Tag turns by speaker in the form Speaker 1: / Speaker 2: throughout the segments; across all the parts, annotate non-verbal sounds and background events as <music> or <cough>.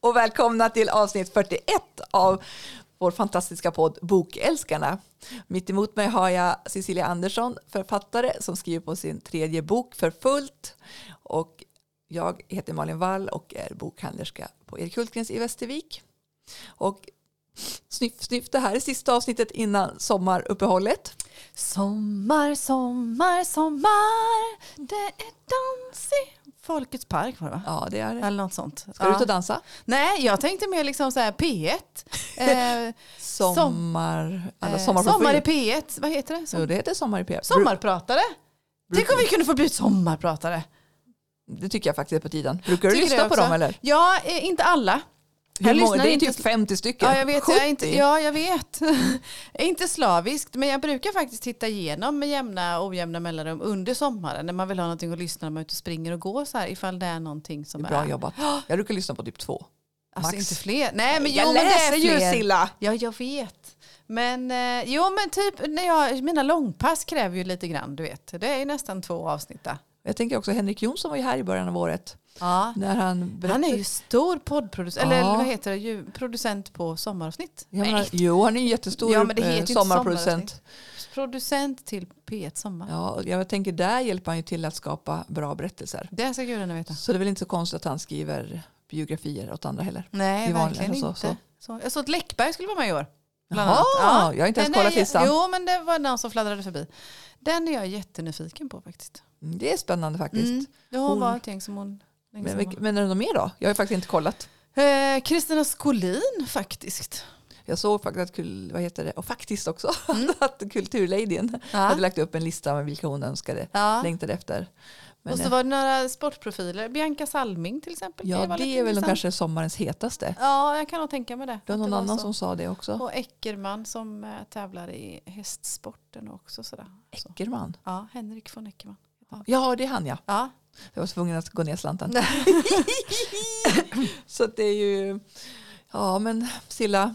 Speaker 1: och välkomna till avsnitt 41 av vår fantastiska podd Bokälskarna. Mitt emot mig har jag Cecilia Andersson, författare som skriver på sin tredje bok för fullt. Och jag heter Malin Wall och är bokhandlerska på Erik Hultgrens i Västervik. Och sniff, sniff, det här är sista avsnittet innan sommaruppehållet.
Speaker 2: Sommar, sommar, sommar Det är dans i Folkets park var det va?
Speaker 1: Ja, det är det.
Speaker 2: Eller något sånt.
Speaker 1: Ska du ut och dansa?
Speaker 2: Nej, jag tänkte mer liksom så här P1. Eh,
Speaker 1: Sommar, <laughs> alla
Speaker 2: eh,
Speaker 1: sommar,
Speaker 2: sommar i P1, vad heter det? Som,
Speaker 1: Jo, det heter Sommar i P.
Speaker 2: sommarpratare. Tänk om vi kunde få bli sommarpratare.
Speaker 1: Det tycker jag faktiskt är på tiden. Brukar du
Speaker 2: Tycker
Speaker 1: lyssna
Speaker 2: det
Speaker 1: på
Speaker 2: också.
Speaker 1: dem eller?
Speaker 2: Ja, eh, inte alla.
Speaker 1: Hur många?
Speaker 2: lyssnar
Speaker 1: Det är
Speaker 2: inte-
Speaker 1: typ 50 stycken.
Speaker 2: Ja, jag vet. Jag är inte,
Speaker 1: 70.
Speaker 2: ja, jag vet. <laughs> Jag är inte slaviskt, men jag brukar faktiskt titta igenom med jämna och ojämna mellanrum under sommaren när man vill ha någonting att lyssna när man är ute och springer och går så här ifall det är någonting som
Speaker 1: Bra
Speaker 2: <gasps>
Speaker 1: jobbat. Jag brukar lyssna på typ två.
Speaker 2: Alltså
Speaker 1: Max.
Speaker 2: inte fler. Nej men
Speaker 1: jag
Speaker 2: jo men det
Speaker 1: läser
Speaker 2: är
Speaker 1: ju
Speaker 2: fler.
Speaker 1: Silla.
Speaker 2: Ja jag vet. Men eh, jo men typ när jag, mina långpass kräver ju lite grann du vet. Det är ju nästan två avsnitt där.
Speaker 1: Jag tänker också Henrik Jonsson var ju här i början av året.
Speaker 2: Ja.
Speaker 1: När han berättade.
Speaker 2: Han är ju stor poddproducent, eller
Speaker 1: Ja.
Speaker 2: vad heter det, ju- producent på sommaravsnitt.
Speaker 1: Jag
Speaker 2: Nej,
Speaker 1: menar, jo, han är en jättestor
Speaker 2: Ja, men det
Speaker 1: eh,
Speaker 2: heter ju inte
Speaker 1: sommarproducent.
Speaker 2: producent till P1 Sommar.
Speaker 1: Ja, och jag tänker där hjälper han ju till att skapa bra berättelser.
Speaker 2: Det ska gudarna veta.
Speaker 1: Så det är väl inte så konstigt att han skriver biografier åt andra heller.
Speaker 2: Nej
Speaker 1: I vanliga,
Speaker 2: verkligen
Speaker 1: så-
Speaker 2: inte. Så, Jag såg att Läckberg skulle vara med i år. bland
Speaker 1: Jaha,
Speaker 2: annat.
Speaker 1: jag har inte ens
Speaker 2: Den
Speaker 1: kollat
Speaker 2: är jag-
Speaker 1: listan.
Speaker 2: Jo men det var någon som fladdrade förbi. Den är jag jättenyfiken på faktiskt.
Speaker 1: Mm, Det är spännande faktiskt.
Speaker 2: Mm. Det har
Speaker 1: Hon-
Speaker 2: varit ting som hon...
Speaker 1: Men, vilk- men är det något mer då? Jag har ju faktiskt inte kollat.
Speaker 2: Eh, Kristina Skolin faktiskt.
Speaker 1: Jag såg faktiskt att, kul, vad heter det? Och faktiskt också
Speaker 2: Mm.
Speaker 1: <laughs> att Kulturladyn hade
Speaker 2: Ja.
Speaker 1: lagt upp en lista med vilka hon önskade,
Speaker 2: Ja.
Speaker 1: längtade efter. Men,
Speaker 2: Ah. Och så
Speaker 1: eh,
Speaker 2: var det några sportprofiler. Bianca Salming till exempel. kan ju
Speaker 1: ja,
Speaker 2: vara
Speaker 1: det
Speaker 2: lite
Speaker 1: är väl nog
Speaker 2: intressant.
Speaker 1: kanske sommarens hetaste.
Speaker 2: Ja, jag kan nog tänka mig det.
Speaker 1: Det var
Speaker 2: Att
Speaker 1: någon
Speaker 2: var
Speaker 1: annan
Speaker 2: så.
Speaker 1: som sa det också.
Speaker 2: Och Eckerman som eh, tävlar i hästsporten också. Sådär. Så.
Speaker 1: Eckerman.
Speaker 2: Ja, Henrik von Eckerman.
Speaker 1: Ja, det är han ja.
Speaker 2: Ja.
Speaker 1: Jag var tvungen att gå ner slanten. <laughs> så att det är ju... Ja, men Silla.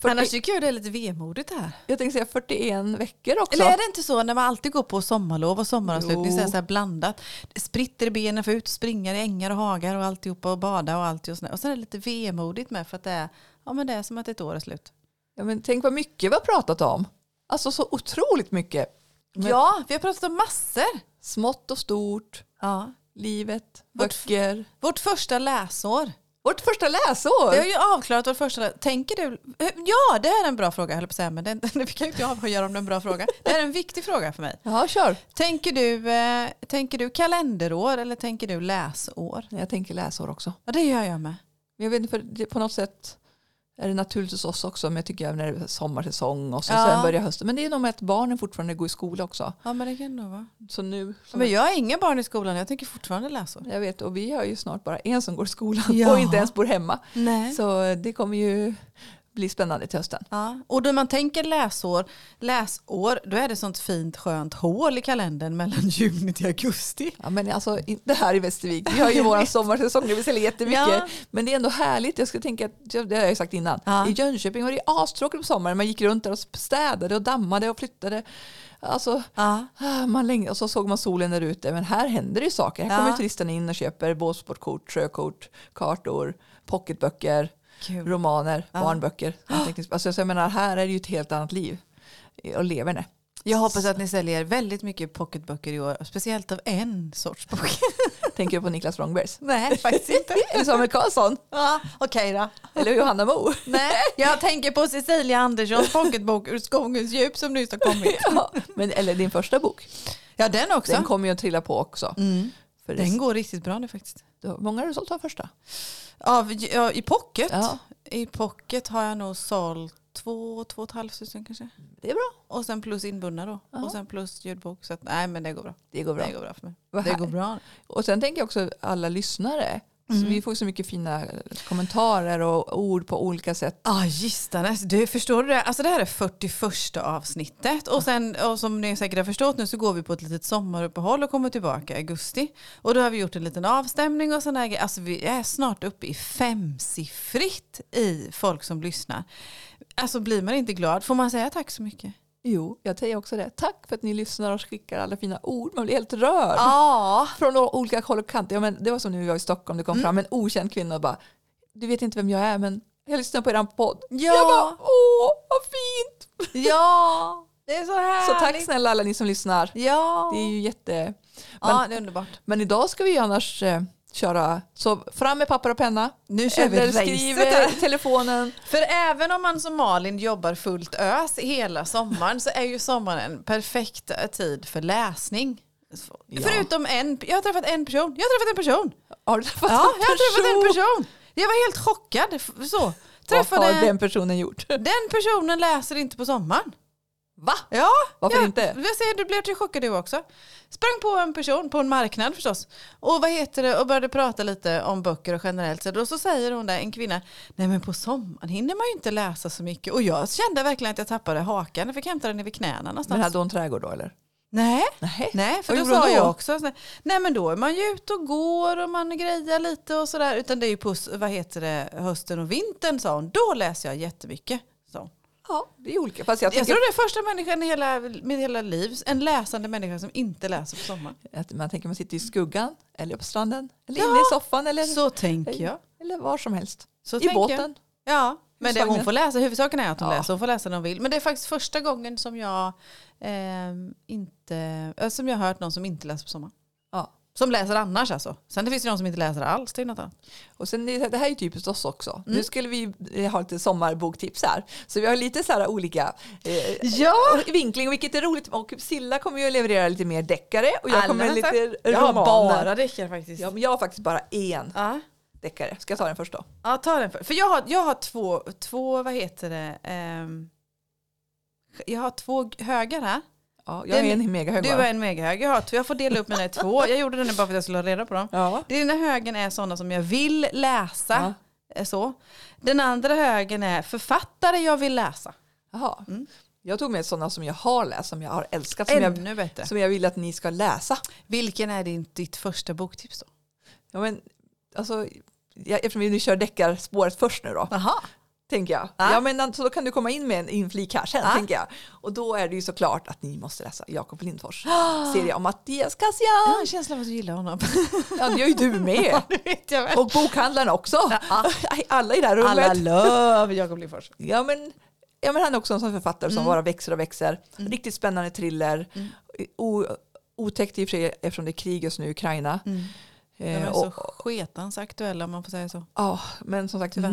Speaker 1: 40,
Speaker 2: Annars tycker jag det är lite vemodigt det här.
Speaker 1: Jag tänkte säga 41 veckor också.
Speaker 2: Eller är det inte så när man alltid går på sommarlov och sommaravslutning så är
Speaker 1: Jo.
Speaker 2: det så här blandat. Det spritter i benen för ut och springa i ängar och hagar och alltihopa och bada och allt och sådär. Och sen är det lite vemodigt med för att det är, ja, men det är som att ett år är slut.
Speaker 1: Ja, men tänk vad mycket vi har pratat om. Alltså så otroligt mycket. Men-
Speaker 2: Ja, vi har pratat om massor.
Speaker 1: Smått och stort,
Speaker 2: Ja.
Speaker 1: livet, böcker.
Speaker 2: Vårt första läsår.
Speaker 1: Vårt första läsår!
Speaker 2: Vi har ju avklarat vårt första läsår. Tänker du? Ja, det är en bra fråga, jag höll på att säga, men <laughs> det, det kan ju inte jag avgöra om det är en bra fråga. Det är en viktig fråga för mig.
Speaker 1: Ja, kör.
Speaker 2: Tänker du, eh, tänker du kalenderår eller tänker du läsår?
Speaker 1: Jag tänker läsår också.
Speaker 2: Ja, det gör jag med.
Speaker 1: Men jag vet inte, för det, på något sätt är det naturligt hos oss också. Men jag tycker även när det är sommarsäsong och så,
Speaker 2: Ja.
Speaker 1: sen börjar hösten. Men det är nog med att barnen fortfarande går i skola också.
Speaker 2: Ja, men det kan nog vara.
Speaker 1: Så nu,
Speaker 2: Men jag har inga barn i skolan, jag tänker fortfarande läsår.
Speaker 1: jag vet, och vi har ju snart bara en som går i skolan
Speaker 2: Ja.
Speaker 1: och inte ens bor hemma.
Speaker 2: Nej.
Speaker 1: Så det kommer ju bli spännande till hösten.
Speaker 2: Ja. Och när man tänker läsår, läsår, då är det sånt fint skönt hål i kalendern mellan <laughs> juni till augusti.
Speaker 1: Ja, men alltså inte här i Västervik. Vi har
Speaker 2: <laughs>
Speaker 1: ju vår sommarsäsong, det vill säga jättemycket.
Speaker 2: Ja.
Speaker 1: Men det är ändå härligt. Jag ska tänka, att- det har jag ju sagt innan.
Speaker 2: Ja.
Speaker 1: I Jönköping var det ju astråkigt på sommaren. Man gick runt där och städade och dammade och flyttade. Alltså,
Speaker 2: Ja.
Speaker 1: ah, man längde, och så såg man solen där ute. Men här händer det ju saker. Här
Speaker 2: Ja.
Speaker 1: kommer ju turisterna in och köper båtsportkort, sjökort, kartor, pocketböcker,
Speaker 2: Kul.
Speaker 1: romaner, barnböcker.
Speaker 2: Ah.
Speaker 1: antecknings- Alltså, så jag menar, här är det ju ett helt annat liv. Och leverne.
Speaker 2: Jag hoppas att ni säljer väldigt mycket pocketböcker i år, speciellt av en sorts bok.
Speaker 1: Tänker du på Niklas Wrongbergs?
Speaker 2: <laughs> Nej, faktiskt inte.
Speaker 1: Eller Samuel Karlsson?
Speaker 2: <laughs> Ja, Okej då.
Speaker 1: Eller Johanna Mo?
Speaker 2: Nej, jag tänker på Cecilia Anderssons pocketbok Ur skogens djup som nyss har kommit.
Speaker 1: Ja, men, eller din första bok.
Speaker 2: Ja, den också. Mm.
Speaker 1: Den kommer ju att trilla på också. För det,
Speaker 2: den går riktigt bra nu faktiskt.
Speaker 1: du har- många har du sålt av första?
Speaker 2: Av, ja, I pocket
Speaker 1: Ja.
Speaker 2: I pocket har jag nog sålt två, två och ett halvt tusen kanske.
Speaker 1: Det är bra.
Speaker 2: Och sen plus inbundna då. Och sen plus ljudbok. Så att, nej men det går bra.
Speaker 1: Det går bra.
Speaker 2: Det går bra för mig.
Speaker 1: Vad
Speaker 2: det
Speaker 1: här-
Speaker 2: går bra.
Speaker 1: Och sen tänker jag också alla lyssnare.
Speaker 2: Mm.
Speaker 1: Så vi får så mycket fina kommentarer och ord på olika sätt.
Speaker 2: Ja, ah, Gistanäs. Du, förstår du det? Alltså det här är 41 avsnittet. Och sen, och som ni säkert har förstått nu så går vi på ett litet sommaruppehåll och kommer tillbaka i augusti. Och då har vi gjort en liten avstämning och sådana här grejer. Alltså vi är snart uppe i femsiffrigt i folk som lyssnar. Alltså blir man inte glad? Får man säga tack så mycket?
Speaker 1: Jo, jag säger också det. Tack för att ni lyssnar och skickar alla fina ord. Man blir helt rörd.
Speaker 2: Ja. Mm.
Speaker 1: Från olika håll och kanter. Ja, men det var som när vi var i Stockholm. Det kom fram en okänd kvinna och bara du vet inte vem jag är men jag lyssnar på eran podd.
Speaker 2: Ja.
Speaker 1: Jag bara, åh vad fint!
Speaker 2: Ja, det är
Speaker 1: <laughs>
Speaker 2: så
Speaker 1: Så
Speaker 2: härligt.
Speaker 1: tack snälla alla ni som lyssnar.
Speaker 2: Ja,
Speaker 1: Det är ju jätte...
Speaker 2: ja det är underbart.
Speaker 1: Men idag ska vi ju annars eh, köra, så fram med papper och penna.
Speaker 2: Nu kör vi
Speaker 1: Eller
Speaker 2: racet här.
Speaker 1: skriver i telefonen.
Speaker 2: För även om man som Malin jobbar fullt ös hela sommaren så är ju sommaren en perfekt eh, tid för läsning.
Speaker 1: Ja.
Speaker 2: Förutom en, jag har träffat en person. Jag har träffat en person.
Speaker 1: Har du träffat
Speaker 2: Ja,
Speaker 1: en
Speaker 2: jag har träffat en
Speaker 1: person?
Speaker 2: person. Jag var helt chockad. f- Så.
Speaker 1: Vad har
Speaker 2: Träffade,
Speaker 1: den personen gjort?
Speaker 2: den personen läser inte på sommaren.
Speaker 1: Va?
Speaker 2: Ja,
Speaker 1: Varför
Speaker 2: ja,
Speaker 1: inte?
Speaker 2: Jag säger, du blev till chockad du också. Sprang på en person på en marknad förstås. Och vad heter det? Och började prata lite om böcker och generellt. Så då så säger hon där, en kvinna, nej men på sommaren hinner man ju inte läsa så mycket. Och jag kände verkligen att jag tappade hakan. Jag fick hämta den över knäna någonstans.
Speaker 1: Men hade hon trädgård då eller?
Speaker 2: Nej.
Speaker 1: Nej.
Speaker 2: Nej, för
Speaker 1: Vad
Speaker 2: då
Speaker 1: gjorde hon
Speaker 2: sa
Speaker 1: då?
Speaker 2: jag också. så- Nej men då är man ju ute och går och man grejar lite och sådär. Utan det är ju på s- vad heter det, hösten och vintern sa hon. Då läser jag jättemycket. sa hon.
Speaker 1: Ja, det är olika. Fast jag,
Speaker 2: Jag
Speaker 1: tänker
Speaker 2: tror det är första människan i hela mitt hela liv, en läsande människa som inte läser på sommaren.
Speaker 1: att man tänker man sitter i skuggan eller på stranden eller inne i soffan eller,
Speaker 2: Så tänker jag.
Speaker 1: eller var som helst.
Speaker 2: Så
Speaker 1: I
Speaker 2: tänker jag.
Speaker 1: båten.
Speaker 2: Ja, men det, hon får läsa. Huvudsaken är att hon
Speaker 1: Ja.
Speaker 2: läser. Hon får läsa när hon vill. Men det är faktiskt första gången som jag ehm, inte, eh, som jag har hört någon som inte läser på sommaren.
Speaker 1: Ja.
Speaker 2: Som läser annars alltså. Sen det finns ju någon som inte läser alls. Det är något annat.
Speaker 1: Och sen, är det det här är ju typiskt oss också.
Speaker 2: Mm.
Speaker 1: Nu skulle vi eh, ha lite sommarboktips här. Så vi har lite så här olika eh,
Speaker 2: Ja!
Speaker 1: och vinkling, vilket är roligt. Och Silla kommer ju att leverera lite mer deckare och jag kommer med
Speaker 2: Allmänt
Speaker 1: lite
Speaker 2: Jag har
Speaker 1: romaner.
Speaker 2: bara deckare faktiskt.
Speaker 1: Ja,
Speaker 2: Ja.
Speaker 1: men jag har faktiskt bara en
Speaker 2: Ja.
Speaker 1: deckare. Ska jag ta den först då?
Speaker 2: ta den för. För jag har, jag har två, två, vad heter det? Ehm, jag har två högar här.
Speaker 1: Ja, jag
Speaker 2: Den-
Speaker 1: är en megahög
Speaker 2: Du
Speaker 1: bara.
Speaker 2: är en megahög. Jag, har, två- jag får dela upp mina i två. Jag gjorde den bara för att jag skulle ha reda på dem.
Speaker 1: Ja.
Speaker 2: Den ena högen är sådana som jag vill läsa. eh, Så. Den andra högen är författare jag vill läsa.
Speaker 1: Jaha. Jag tog med sådana som jag har läst, som jag har älskat, som, jag,
Speaker 2: Ännu bättre.
Speaker 1: som jag vill att ni ska läsa.
Speaker 2: Vilken är din, ditt första boktips då?
Speaker 1: Ja, men, alltså, jag, eftersom vi nu kör deckarspåret först nu då,
Speaker 2: Aha.
Speaker 1: tänker jag.
Speaker 2: Ja.
Speaker 1: Ja, men, så då kan du komma in med en inflik här sen,
Speaker 2: Ja.
Speaker 1: tänker jag. Och då är det ju såklart att ni måste läsa Jakob <gasps> Lindfors serie om Mattias Kassian.
Speaker 2: Jag har en känsla av att du gillar honom. <laughs>
Speaker 1: Ja, det gör ju du med.
Speaker 2: det vet jag
Speaker 1: <laughs>
Speaker 2: väl.
Speaker 1: Och bokhandlaren också. <laughs> Alla i det här rummet.
Speaker 2: Alla love Jakob Lindfors.
Speaker 1: Ja, men, ja, men han är också en sån författare
Speaker 2: Mm.
Speaker 1: som bara växer och växer. Riktigt spännande thriller. O, otäckt i och för sig eftersom det är krig just nu i Ukraina.
Speaker 2: Mm. De
Speaker 1: Eh,
Speaker 2: är
Speaker 1: och,
Speaker 2: så sketans aktuella om man får säga så.
Speaker 1: ja, men som sagt,
Speaker 2: Tyvärr.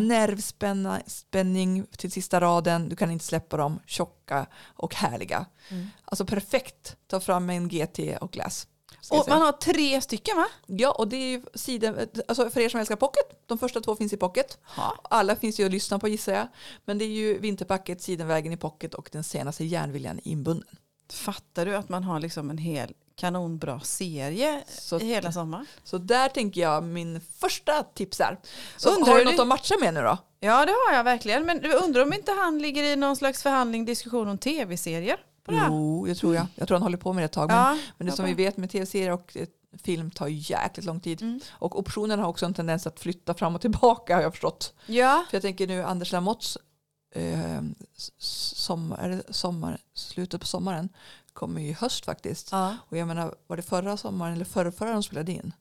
Speaker 1: nervspänning till sista raden. Du kan inte släppa dem. Tjocka och härliga.
Speaker 2: Mm.
Speaker 1: Alltså perfekt. Ta fram en GT och läs. ska jag
Speaker 2: Och
Speaker 1: säga.
Speaker 2: man har tre stycken va?
Speaker 1: Ja, och det är ju sidor, alltså för er som älskar pocket, de första två finns i pocket. Alla finns ju att lyssna på gissar jag. Men det är ju Vinterpacket, Sidenvägen i pocket och den senaste Järnviljan i inbunden.
Speaker 2: Fattar du att man har liksom en hel kanonbra serie
Speaker 1: Så-
Speaker 2: hela sommaren?
Speaker 1: Så där tänker jag min första tips är. Så
Speaker 2: Undrar
Speaker 1: har du
Speaker 2: du-
Speaker 1: något att matcha med nu då?
Speaker 2: Ja det har jag verkligen. Men jag undrar om inte han ligger i någon slags förhandling, diskussion om tv-serier? på det här?
Speaker 1: Jo, det tror jag. Jag tror han håller på med det ett tag. Men,
Speaker 2: Ja,
Speaker 1: men det som vi
Speaker 2: hoppas.
Speaker 1: vet med tv-serier och eh, film tar ju jäkligt lång tid. Och optionerna har också en tendens att flytta fram och tillbaka har jag förstått.
Speaker 2: Ja.
Speaker 1: För jag tänker nu Anders Lamotts eh, s- sommar, är det sommar, slutet på sommaren kommer ju i höst faktiskt.
Speaker 2: ja.
Speaker 1: Och jag menar, var det förra sommaren eller förra, förra de spelade in?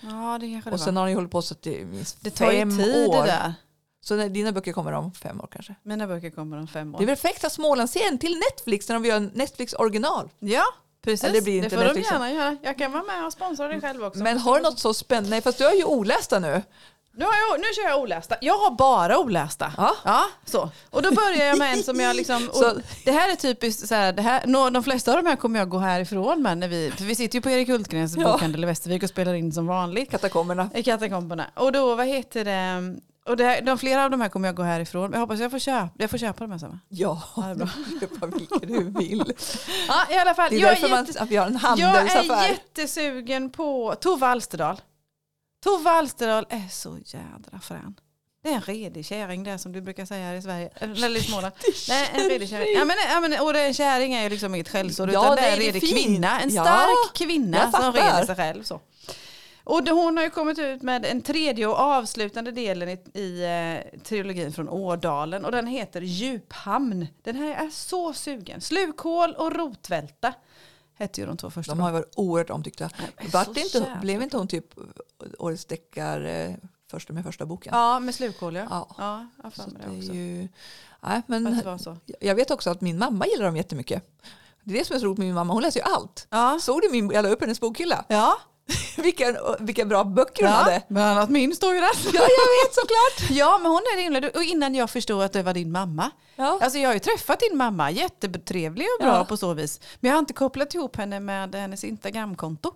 Speaker 2: Ja, det kanske det
Speaker 1: Och sen har han ju hållit på så att det är minst
Speaker 2: Det tar
Speaker 1: fem
Speaker 2: ju tid
Speaker 1: år.
Speaker 2: det där.
Speaker 1: Så när dina böcker kommer om fem år kanske.
Speaker 2: Mina böcker kommer om fem år.
Speaker 1: Det är perfekt att Smålandsserien till Netflix när de gör en Netflix original.
Speaker 2: Ja, precis.
Speaker 1: Ja, det blir inte
Speaker 2: får de
Speaker 1: Netflix.
Speaker 2: gärna göra. Jag kan vara med och sponsra det själv också.
Speaker 1: Men har du något så spännande? Nej, fast du är ju olästa nu.
Speaker 2: Nu, har jag, nu kör jag olästa. Jag har bara olästa.
Speaker 1: Ja.
Speaker 2: så. Och då börjar jag med en som jag liksom...
Speaker 1: <laughs>
Speaker 2: Och
Speaker 1: Så-
Speaker 2: det här är typiskt så här, det här, nå- de flesta av de här kommer jag gå härifrån med. När vi, för vi sitter ju på Erik Hultgrens
Speaker 1: Ja.
Speaker 2: bokhandel i Västervik och spelar in som vanligt.
Speaker 1: Katakomberna.
Speaker 2: I katakomberna. Och då, vad heter det? Och det här, de, flera av de här kommer jag gå härifrån. Jag hoppas jag får köpa, jag får köpa de här samma.
Speaker 1: Ja,
Speaker 2: det är bra.
Speaker 1: <laughs> köpa vilka du vill.
Speaker 2: Ja, i alla fall.
Speaker 1: Det är
Speaker 2: jag
Speaker 1: därför man, att vi har en
Speaker 2: Jag är
Speaker 1: handelsaffär.
Speaker 2: jättesugen på Tove Alsterdal. Tove Alsterdal är så jädra frän. Det är en redig kärring där som du brukar säga här i Sverige. Eller i Småland. Nej, en redig kärring. Ja, men, ja, men, och det är en kärring är ju liksom inget skällsord
Speaker 1: Ja,
Speaker 2: utan det
Speaker 1: nej,
Speaker 2: är en
Speaker 1: det är
Speaker 2: redig
Speaker 1: fint.
Speaker 2: kvinna. En
Speaker 1: Ja,
Speaker 2: stark kvinna
Speaker 1: jag
Speaker 2: som
Speaker 1: fattar.
Speaker 2: reder sig själv. Så. Och då- hon har ju kommit ut med en tredje och avslutande delen i, i eh, trilogin från Ådalen och den heter Djuphamn. Den här är så sugen. Slukhål och rotvälta hette ju de två första.
Speaker 1: De har ju varit oerhört omtyckta.
Speaker 2: Nej, men
Speaker 1: Vart
Speaker 2: så
Speaker 1: det inte,
Speaker 2: jävla
Speaker 1: blev inte hon typ årets deckar eh, först med första boken.
Speaker 2: Ja, med slukhål ja.
Speaker 1: Ja.
Speaker 2: Ja, jag har för
Speaker 1: så
Speaker 2: mig
Speaker 1: det
Speaker 2: det
Speaker 1: är
Speaker 2: också.
Speaker 1: ju, nej,
Speaker 2: Att
Speaker 1: men
Speaker 2: det var så.
Speaker 1: jag vet också att min mamma gillar dem jättemycket. Det är det som är så roligt med min mamma, hon läser ju allt.
Speaker 2: Ja.
Speaker 1: Såg du min, jag la upp hennes bokhylla? <laughs>
Speaker 2: Ja.
Speaker 1: Vilken, vilka bra böcker hon
Speaker 2: ja.
Speaker 1: hade.
Speaker 2: Bland annat min står ju där.
Speaker 1: Ja, jag vet såklart.
Speaker 2: <laughs> Ja, men hon är inledd. Och innan jag förstod att det var din mamma.
Speaker 1: Ja.
Speaker 2: Alltså jag har ju träffat din mamma, jättetrevlig och bra
Speaker 1: Ja.
Speaker 2: på så vis. Men jag har inte kopplat ihop henne med hennes Instagramkonto.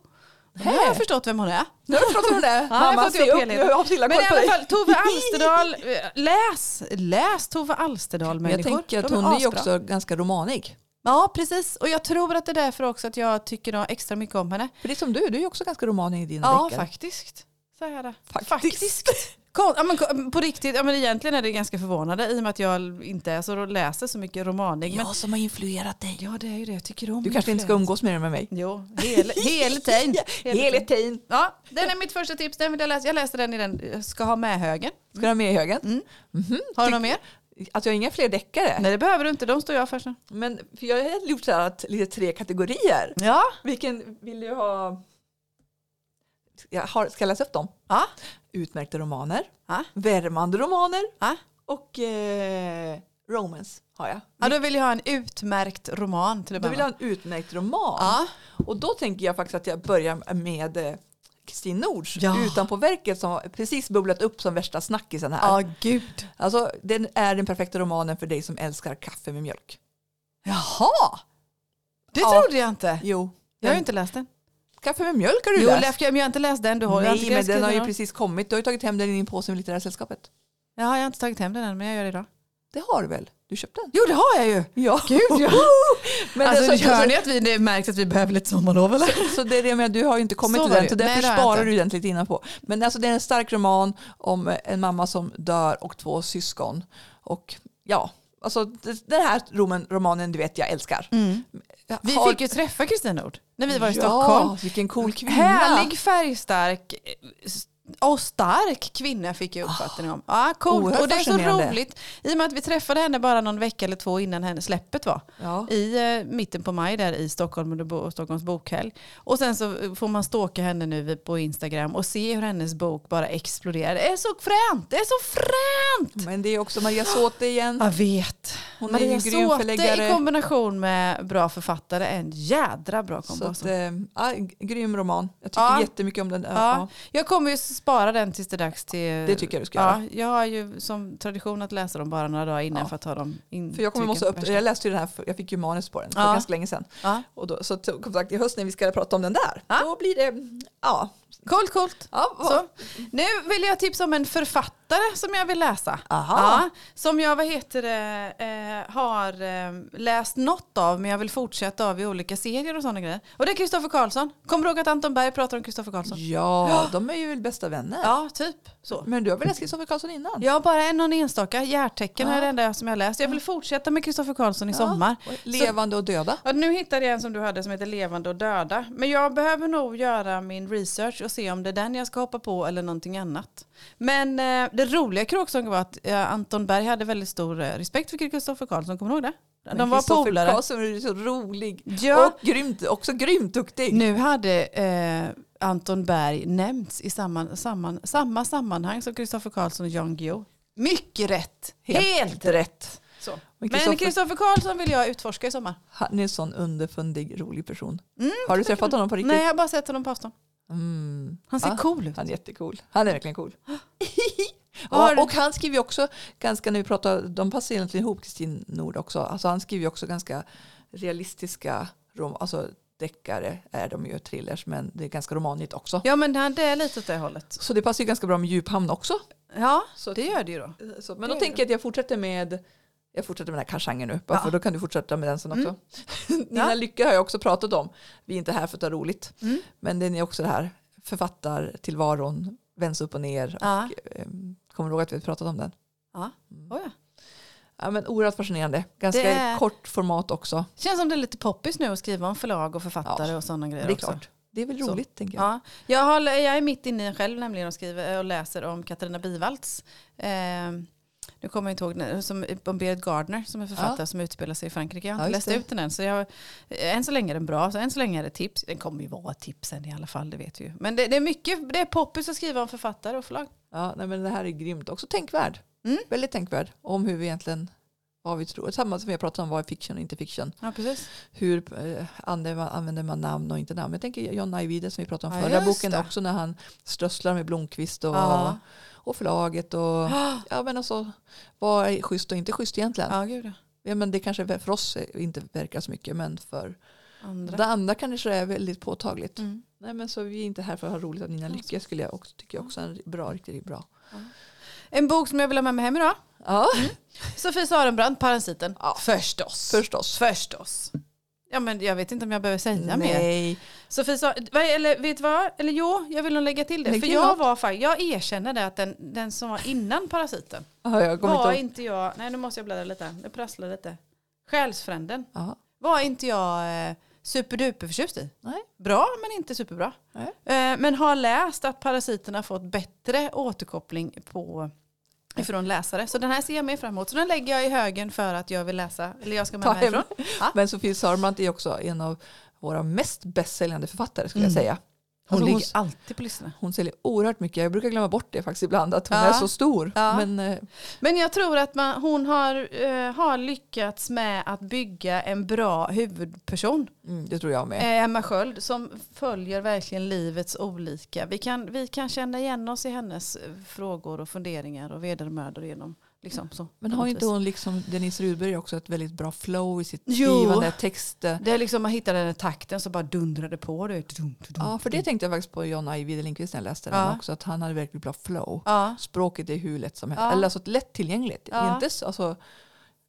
Speaker 2: Nu har
Speaker 1: Hej.
Speaker 2: jag förstått vem hon är.
Speaker 1: Nu har du förstått hon är.
Speaker 2: Ja, jag har
Speaker 1: Mamma,
Speaker 2: fått
Speaker 1: se
Speaker 2: ihop
Speaker 1: upp nu.
Speaker 2: helheten.
Speaker 1: Jag har Silla
Speaker 2: Men
Speaker 1: koll
Speaker 2: i
Speaker 1: på
Speaker 2: alla
Speaker 1: dig.
Speaker 2: fall, <laughs> Tove Alsterdal, eh, läs, läs Tove Alsterdal
Speaker 1: Men jag
Speaker 2: människor.
Speaker 1: tänker att hon
Speaker 2: De
Speaker 1: är ju
Speaker 2: asbra.
Speaker 1: också ganska romanig.
Speaker 2: Ja, precis. Och jag tror att det är därför också att jag tycker då extra mycket om henne.
Speaker 1: För det är som du, du är ju också ganska romanig i dina
Speaker 2: Ja,
Speaker 1: deckare.
Speaker 2: faktiskt. Så är det.
Speaker 1: Faktiskt.
Speaker 2: Kon- Ja, men, <laughs> ko- på riktigt, ja, men egentligen är det ganska förvånande i och med att jag inte är så, läser så mycket romanig. Men,
Speaker 1: Jag som har influerat dig.
Speaker 2: ja, det är ju det jag tycker om.
Speaker 1: Du kanske inte ska
Speaker 2: influencer.
Speaker 1: umgås mer med mig.
Speaker 2: Jo, <laughs> hel-
Speaker 1: <laughs>
Speaker 2: heltein.
Speaker 1: Hela tiden.
Speaker 2: Ja, den är mitt första tips. Den vill jag läsa. Jag läste den i den jag ska ha med högen.
Speaker 1: Ska du ha med i högen?
Speaker 2: Mm. Har du någon mer?
Speaker 1: Att jag har inga fler deckare.
Speaker 2: Nej, det behöver du inte. De står jag för sen.
Speaker 1: Men för jag har gjort så här att lite tre kategorier.
Speaker 2: Ja.
Speaker 1: Vilken vill du ha? Jag har, ska jag läsa upp dem?
Speaker 2: Ja.
Speaker 1: Utmärkta romaner,
Speaker 2: Ja.
Speaker 1: värmande romaner
Speaker 2: Ja.
Speaker 1: och eh, romance har jag.
Speaker 2: ja, då vill jag ha en utmärkt roman till att
Speaker 1: Då vill
Speaker 2: börja
Speaker 1: jag ha
Speaker 2: med.
Speaker 1: en utmärkt roman.
Speaker 2: Ja.
Speaker 1: Och då tänker jag faktiskt att jag börjar med eh, Kristin Nords
Speaker 2: Ja.
Speaker 1: Utan på verket som har precis bubblat upp som värsta snackisen här.
Speaker 2: Ja, gud.
Speaker 1: Alltså, den är den perfekta romanen för dig som älskar kaffe med mjölk.
Speaker 2: Jaha! Det
Speaker 1: Ja.
Speaker 2: trodde jag inte.
Speaker 1: Jo,
Speaker 2: Jag har ju
Speaker 1: den-
Speaker 2: inte läst den.
Speaker 1: kaffe med mjölk har du
Speaker 2: Jo,
Speaker 1: läst.
Speaker 2: läst. men jag har inte läst den du har. jag har
Speaker 1: Nej,
Speaker 2: inte
Speaker 1: men den har ju
Speaker 2: någon.
Speaker 1: precis kommit. Du har ju tagit hem den i din påse med Litterära sällskapet.
Speaker 2: Ja, jag har inte tagit hem den än, men jag gör det idag.
Speaker 1: Det har du väl? Du köpte den?
Speaker 2: Jo, det har jag ju.
Speaker 1: Ja.
Speaker 2: Gud, ja.
Speaker 1: <laughs> men
Speaker 2: alltså,
Speaker 1: alltså,
Speaker 2: hör
Speaker 1: så,
Speaker 2: ni att vi det märks att vi behöver lite sommarlov eller?
Speaker 1: så det är det med, du har ju inte kommit
Speaker 2: Så
Speaker 1: till
Speaker 2: var
Speaker 1: den,
Speaker 2: det.
Speaker 1: så
Speaker 2: Nej,
Speaker 1: därför
Speaker 2: det har jag
Speaker 1: sparar
Speaker 2: inte.
Speaker 1: du den till lite innanpå. Men alltså, det är en stark roman om eh, en mamma som dör och två syskon. Och ja, alltså, det- den här roman, romanen, du vet, jag älskar. Jag
Speaker 2: Mm. Vi
Speaker 1: har-
Speaker 2: fick ju träffa Kristin Nord när vi var i
Speaker 1: ja,
Speaker 2: Stockholm.
Speaker 1: vilken cool kvinna.
Speaker 2: Härlig, färgstark eh, s- och stark kvinna fick jag uppfattning om. Ja, coolt.
Speaker 1: Oerhört
Speaker 2: Och det är så
Speaker 1: fascinerande.
Speaker 2: roligt i och med att vi träffade henne bara någon vecka eller två innan henne släppet var.
Speaker 1: Ja.
Speaker 2: I eh, mitten på maj där i Stockholm under bo, Stockholms bokhelg. Och sen så eh, får man stalka henne nu vid- på Instagram och se hur hennes bok bara exploderar. Det är så fränt! Det är så fränt!
Speaker 1: Men det är också Maria Sote igen.
Speaker 2: Mm. Jag vet.
Speaker 1: Hon är ju
Speaker 2: Maria
Speaker 1: en grym
Speaker 2: Sote
Speaker 1: förläggare.
Speaker 2: i kombination med bra författare är en jädra bra kombo.
Speaker 1: Så att,
Speaker 2: alltså.
Speaker 1: eh, ja, g- grym roman. Jag tycker
Speaker 2: Ja.
Speaker 1: jättemycket om den. Ja,
Speaker 2: Ja, Mm,
Speaker 1: ja.
Speaker 2: jag kommer ju spara den tills det är dags till...
Speaker 1: Det tycker jag du ska
Speaker 2: ja, Jag har ju som tradition att läsa dem bara några dagar innan
Speaker 1: Ja.
Speaker 2: för att ta dem in.
Speaker 1: För jag, kommer måste
Speaker 2: trycken
Speaker 1: upp,
Speaker 2: färska.
Speaker 1: jag läste ju den här, för- jag fick ju manus på den för
Speaker 2: Ja.
Speaker 1: ganska länge sedan.
Speaker 2: Ja.
Speaker 1: Och då, så t- som sagt, i höst när vi ska prata om den där,
Speaker 2: Ja.
Speaker 1: då blir det, ja.
Speaker 2: Coolt, coolt.
Speaker 1: ja vad-
Speaker 2: Så. Nu vill jag tipsa om en författare som jag vill läsa.
Speaker 1: Aha.
Speaker 2: Ja, som jag vad heter det, eh, har eh, läst något av men jag vill fortsätta av i olika serier och sådana grejer. Och det är Kristoffer Karlsson. Kommer du ihåg att Anton Berg pratar om Kristoffer Karlsson?
Speaker 1: Ja, de är ju väl bästa vänner.
Speaker 2: Ja, typ så.
Speaker 1: Men du har väl läst Kristoffer Karlsson innan?
Speaker 2: Jag har bara en någon enstaka. Hjärtecken är det enda som jag har läst. Jag vill fortsätta med Kristoffer Karlsson i sommar.
Speaker 1: Och Levande och döda.
Speaker 2: Ja, nu hittade jag en som du hade som heter Levande och döda. Men jag behöver nog göra min research och se om det är den jag ska hoppa på eller någonting annat. Men eh, det roliga i Kråksång var att eh, Anton Berg hade väldigt stor eh, respekt för Kristoffer Karlsson. Kommer du ihåg det?
Speaker 1: Men
Speaker 2: De var
Speaker 1: Kristoffer
Speaker 2: polare.
Speaker 1: Karlsson är ju så rolig.
Speaker 2: Ja.
Speaker 1: Och grymt, också grymt duktig.
Speaker 2: Nu hade eh, Anton Berg nämnts i samman, samman, samma sammanhang som Kristoffer Karlsson och Jan Guillou. Mycket rätt.
Speaker 1: Helt
Speaker 2: rätt. Så. Men Kristoffer Karlsson vill jag utforska i sommar.
Speaker 1: Han är en sån underfundig, rolig person. har du träffat honom på riktigt?
Speaker 2: Nej, Mm, jag har bara sett honom på avstånd.
Speaker 1: Mm.
Speaker 2: Han ser
Speaker 1: Ja.
Speaker 2: cool ut.
Speaker 1: Han är jättecool. Han är verkligen
Speaker 2: <gasps>
Speaker 1: cool.
Speaker 2: Har du-
Speaker 1: och, och han skriver ju också ganska, när vi pratar, de passar egentligen ihop Kristin Nord också. Alltså han skriver ju också ganska realistiska rom, alltså deckare är de ju, thrillers, men det är ganska romanigt också.
Speaker 2: Ja, men han- det är lite åt det hållet.
Speaker 1: Så det passar ju ganska bra med djuphamn också.
Speaker 2: Ja,
Speaker 1: Så-
Speaker 2: det gör det ju då.
Speaker 1: Så, men då
Speaker 2: Det är
Speaker 1: tänker jag att jag fortsätter med jag fortsätter med den här kangenren nu, bara
Speaker 2: Ja. Mm,
Speaker 1: för då kan du fortsätta med den sen också. Nina
Speaker 2: Ja.
Speaker 1: Lycke har jag också pratat om. Vi är inte här för att ha roligt.
Speaker 2: Mm.
Speaker 1: Men den är också det här författartillvaron, vänds upp och ner.
Speaker 2: Ja.
Speaker 1: Och, ehm, kommer du ihåg att vi har pratat om den?
Speaker 2: Ja.
Speaker 1: Mm.
Speaker 2: Oh, ja.
Speaker 1: Ja, men oerhört fascinerande. Ganska
Speaker 2: Det är-
Speaker 1: kort format också.
Speaker 2: Känns som det är lite poppis nu att skriva om förlag och författare
Speaker 1: Ja,
Speaker 2: och sådana
Speaker 1: Det
Speaker 2: grejer
Speaker 1: är
Speaker 2: också.
Speaker 1: klart. Det är väl
Speaker 2: Så.
Speaker 1: roligt tänker jag.
Speaker 2: Ja. Jag, har, jag är mitt inne i själv nämligen och skriver och läser om Katarina Bivalds. Eh, nu kommer jag inte ihåg, den, som, om Berit Gardner som är författare
Speaker 1: Ja.
Speaker 2: som utspelar sig i Frankrike. Jag har
Speaker 1: Ja,
Speaker 2: inte
Speaker 1: just
Speaker 2: läst
Speaker 1: det.
Speaker 2: ut den än. Så jag, eh, än så länge är den bra, så än så länge är det tips. Den kommer ju vara tipsen i alla fall, det vet vi ju. Men det, det är mycket, det är poppis att skriva om författare och förlag.
Speaker 1: Ja, nej, men det här är grymt. Också tänkvärd.
Speaker 2: Mm.
Speaker 1: Väldigt tänkvärd. Om hur vi egentligen, vad vi tror. Samma som vi har pratat om, vad är fiction och inte fiction.
Speaker 2: Ja, precis.
Speaker 1: Hur eh, använder man, använder man namn och inte namn. Jag tänker John Ajvide som vi pratade om
Speaker 2: Ja,
Speaker 1: förra
Speaker 2: just
Speaker 1: boken
Speaker 2: det.
Speaker 1: också när han strösslar med Blomkvist och,
Speaker 2: Ja.
Speaker 1: och förlaget.
Speaker 2: <gasps>
Speaker 1: Och, ja, men alltså, vad är schysst och inte schysst egentligen?
Speaker 2: Ja, gud ja.
Speaker 1: Ja, men det kanske för oss inte verkar så mycket men för
Speaker 2: Andra.
Speaker 1: det andra kanske är väldigt påtagligt.
Speaker 2: Mm.
Speaker 1: Nej, men så vi är inte här för att ha roligt att Nina
Speaker 2: Ja,
Speaker 1: Lycke skulle jag också, tycker jag också är en bra, riktigt bra.
Speaker 2: En bok som jag vill ha med mig hem idag.
Speaker 1: Ja,
Speaker 2: Sofie Sarenbrant, Parasiten.
Speaker 1: Ja.
Speaker 2: Förstås.
Speaker 1: förstås.
Speaker 2: Förstås. Ja, men jag vet inte om jag behöver säga mer.
Speaker 1: Nej.
Speaker 2: Sofie sa, vad- eller vet du vad? Eller jo, jag vill nog lägga till det.
Speaker 1: Lägg
Speaker 2: för
Speaker 1: till
Speaker 2: jag
Speaker 1: något.
Speaker 2: var faktiskt, jag erkänner det att den, den som var innan Parasiten
Speaker 1: Ja, jag kommer
Speaker 2: var
Speaker 1: inte ihåg.
Speaker 2: inte jag, nej nu måste jag bläddra lite, här. det prasslar lite. Själsfränden
Speaker 1: Ja.
Speaker 2: var inte jag eh, superduper förtjust i.
Speaker 1: Nej.
Speaker 2: Bra men inte superbra.
Speaker 1: Nej.
Speaker 2: Eh, men har läst att Parasiten har fått bättre återkoppling på ifrån läsare. Så den här ser jag mer fram emot. Så den lägger jag i högen för att jag vill läsa, eller jag ska med
Speaker 1: Ta
Speaker 2: mig
Speaker 1: hem.
Speaker 2: härifrån. Ja.
Speaker 1: Men Sofie Sörmant är också en av våra mest bästsäljande författare skulle jag
Speaker 2: Mm.
Speaker 1: säga.
Speaker 2: Hon,
Speaker 1: Alltså, hon,
Speaker 2: ligger alltid på lyssnarna.
Speaker 1: hon säljer oerhört mycket. Jag brukar glömma bort det faktiskt ibland att hon
Speaker 2: Ja.
Speaker 1: är så stor.
Speaker 2: Ja.
Speaker 1: Men, eh,
Speaker 2: Men jag tror att man, hon har, eh, har lyckats med att bygga en bra huvudperson.
Speaker 1: mm, det tror jag med.
Speaker 2: Eh, Emma Sköld som följer verkligen livets olika. Vi kan, vi kan känna igen oss i hennes eh, frågor och funderingar och vedermödor genom liksom så.
Speaker 1: Men
Speaker 2: på
Speaker 1: har
Speaker 2: något
Speaker 1: inte
Speaker 2: vis.
Speaker 1: hon liksom Denise Rudberg också ett väldigt bra flow i sitt
Speaker 2: Jo.
Speaker 1: skrivande, texter?
Speaker 2: Det är liksom man hittar den här takten som bara dundrade på. Du vet. Dum, dum,
Speaker 1: Ja, för det
Speaker 2: dum.
Speaker 1: tänkte jag faktiskt på John Ajvide Lindqvist när jag läste
Speaker 2: Ja.
Speaker 1: den också, att han hade verkligen bra flow.
Speaker 2: Ja.
Speaker 1: Språket är hur lätt som helst,
Speaker 2: Ja.
Speaker 1: eller alltså lättillgängligt.
Speaker 2: Ja.
Speaker 1: Inte, så- alltså,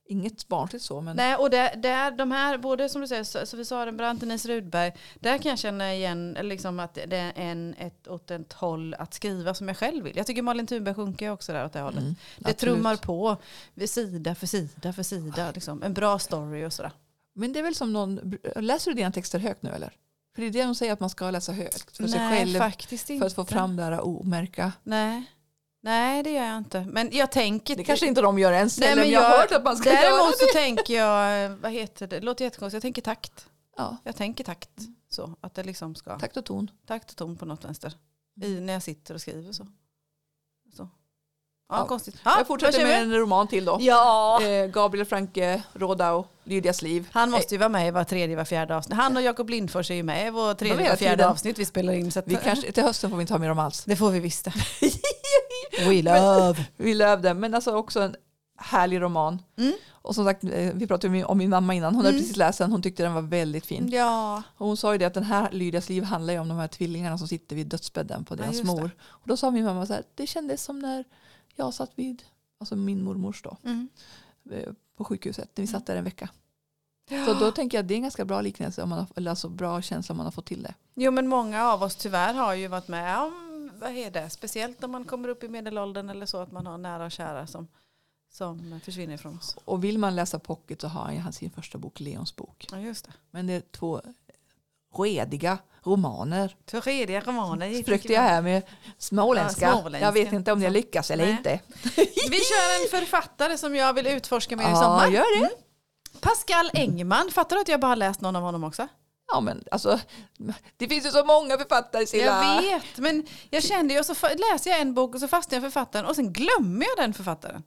Speaker 1: inget barnsligt så, men
Speaker 2: Nej, och där, där, de här, både som du säger, So- Sofie Sarenbrant, Denise Rudberg, där kan jag känna igen eller liksom att det är en, ett, åt ett håll att skriva som jag själv vill. Jag tycker Malin Thunberg sjunker också där åt det hållet.
Speaker 1: Mm,
Speaker 2: det
Speaker 1: absolut.
Speaker 2: trummar på, vid sida för sida för sida, liksom. en bra story och sådär.
Speaker 1: Men det är väl som någon, läser du dina texter högt nu eller? För det är det de säger att man ska läsa högt för sig själv.
Speaker 2: faktiskt inte.
Speaker 1: För att få fram det här omärka.
Speaker 2: Nej. Nej, det gör jag inte. Men jag tänker...
Speaker 1: Det kanske inte de gör ens
Speaker 2: Nej,
Speaker 1: heller,
Speaker 2: men
Speaker 1: men jag
Speaker 2: jag-
Speaker 1: har hört att man ska göra
Speaker 2: Däremot
Speaker 1: det.
Speaker 2: så tänker jag, eh, vad heter det, det låter jättekonstigt, jag tänker takt.
Speaker 1: Ja,
Speaker 2: Jag tänker takt. Så, att det liksom ska...
Speaker 1: Mm. takt Mm. och ton.
Speaker 2: takt och ton på något vänster. I, när jag sitter och skriver så. så. Ja,
Speaker 1: Ja.
Speaker 2: konstigt.
Speaker 1: jag fortsätter med en roman till då.
Speaker 2: Ja.
Speaker 1: Eh, Gabriel Franke, Rodau, Lydias liv.
Speaker 2: Han måste ju vara med i var tredje, var fjärde avsnitt. Han och Jakob Lindfors är ju med i vår
Speaker 1: eh. De
Speaker 2: tredje,
Speaker 1: är
Speaker 2: var
Speaker 1: hela
Speaker 2: fjärde
Speaker 1: tiden.
Speaker 2: avsnitt vi spelar in. Så att,
Speaker 1: Vi kanske, till hösten får vi inte ha med dem alls.
Speaker 2: Det får vi visst <laughs> det. We love.
Speaker 1: Vi löv den, men alltså också en härlig roman.
Speaker 2: Mm.
Speaker 1: Och som sagt, eh, vi pratade ju om min mamma innan, hon hade
Speaker 2: Mm.
Speaker 1: precis läst den, hon tyckte den var väldigt fin.
Speaker 2: Ja.
Speaker 1: Och hon sa ju det att den här Lydias liv handlar ju om de här tvillingarna som sitter vid dödsbädden på deras
Speaker 2: just det.
Speaker 1: mor. Och då sa min mamma så här, det kändes som när jag satt vid, alltså min mormors då,
Speaker 2: Mm.
Speaker 1: eh, på sjukhuset, när vi satt där en vecka. Så då tänker jag att det är en ganska bra liknelse, om man har, eller alltså bra känsla om man har fått till det.
Speaker 2: Jo men många av oss tyvärr har ju varit med om, vad är det, speciellt om man kommer upp i medelåldern eller så att man har nära och kära som, som försvinner från oss.
Speaker 1: Och vill man läsa pocket så har han sin första bok, Leons bok.
Speaker 2: Ja just det.
Speaker 1: Men det är två rediga romaner.
Speaker 2: Tredje romanen gick
Speaker 1: Försökte jag här med småländska.
Speaker 2: Ja, småländska.
Speaker 1: Jag vet inte om jag
Speaker 2: Så.
Speaker 1: lyckas eller
Speaker 2: Nej.
Speaker 1: inte.
Speaker 2: Vi kör en författare som jag vill utforska mer i
Speaker 1: Ja,
Speaker 2: sommar. Mm.
Speaker 1: gör det.
Speaker 2: Pascal Engman. Fattar du att jag bara har läst någon av honom också?
Speaker 1: Ja, men alltså, det finns ju så många författare Silla.
Speaker 2: Jag vet, men jag kände ju och så fa- läser jag en bok och så fastnar jag för författaren och sen glömmer jag den författaren.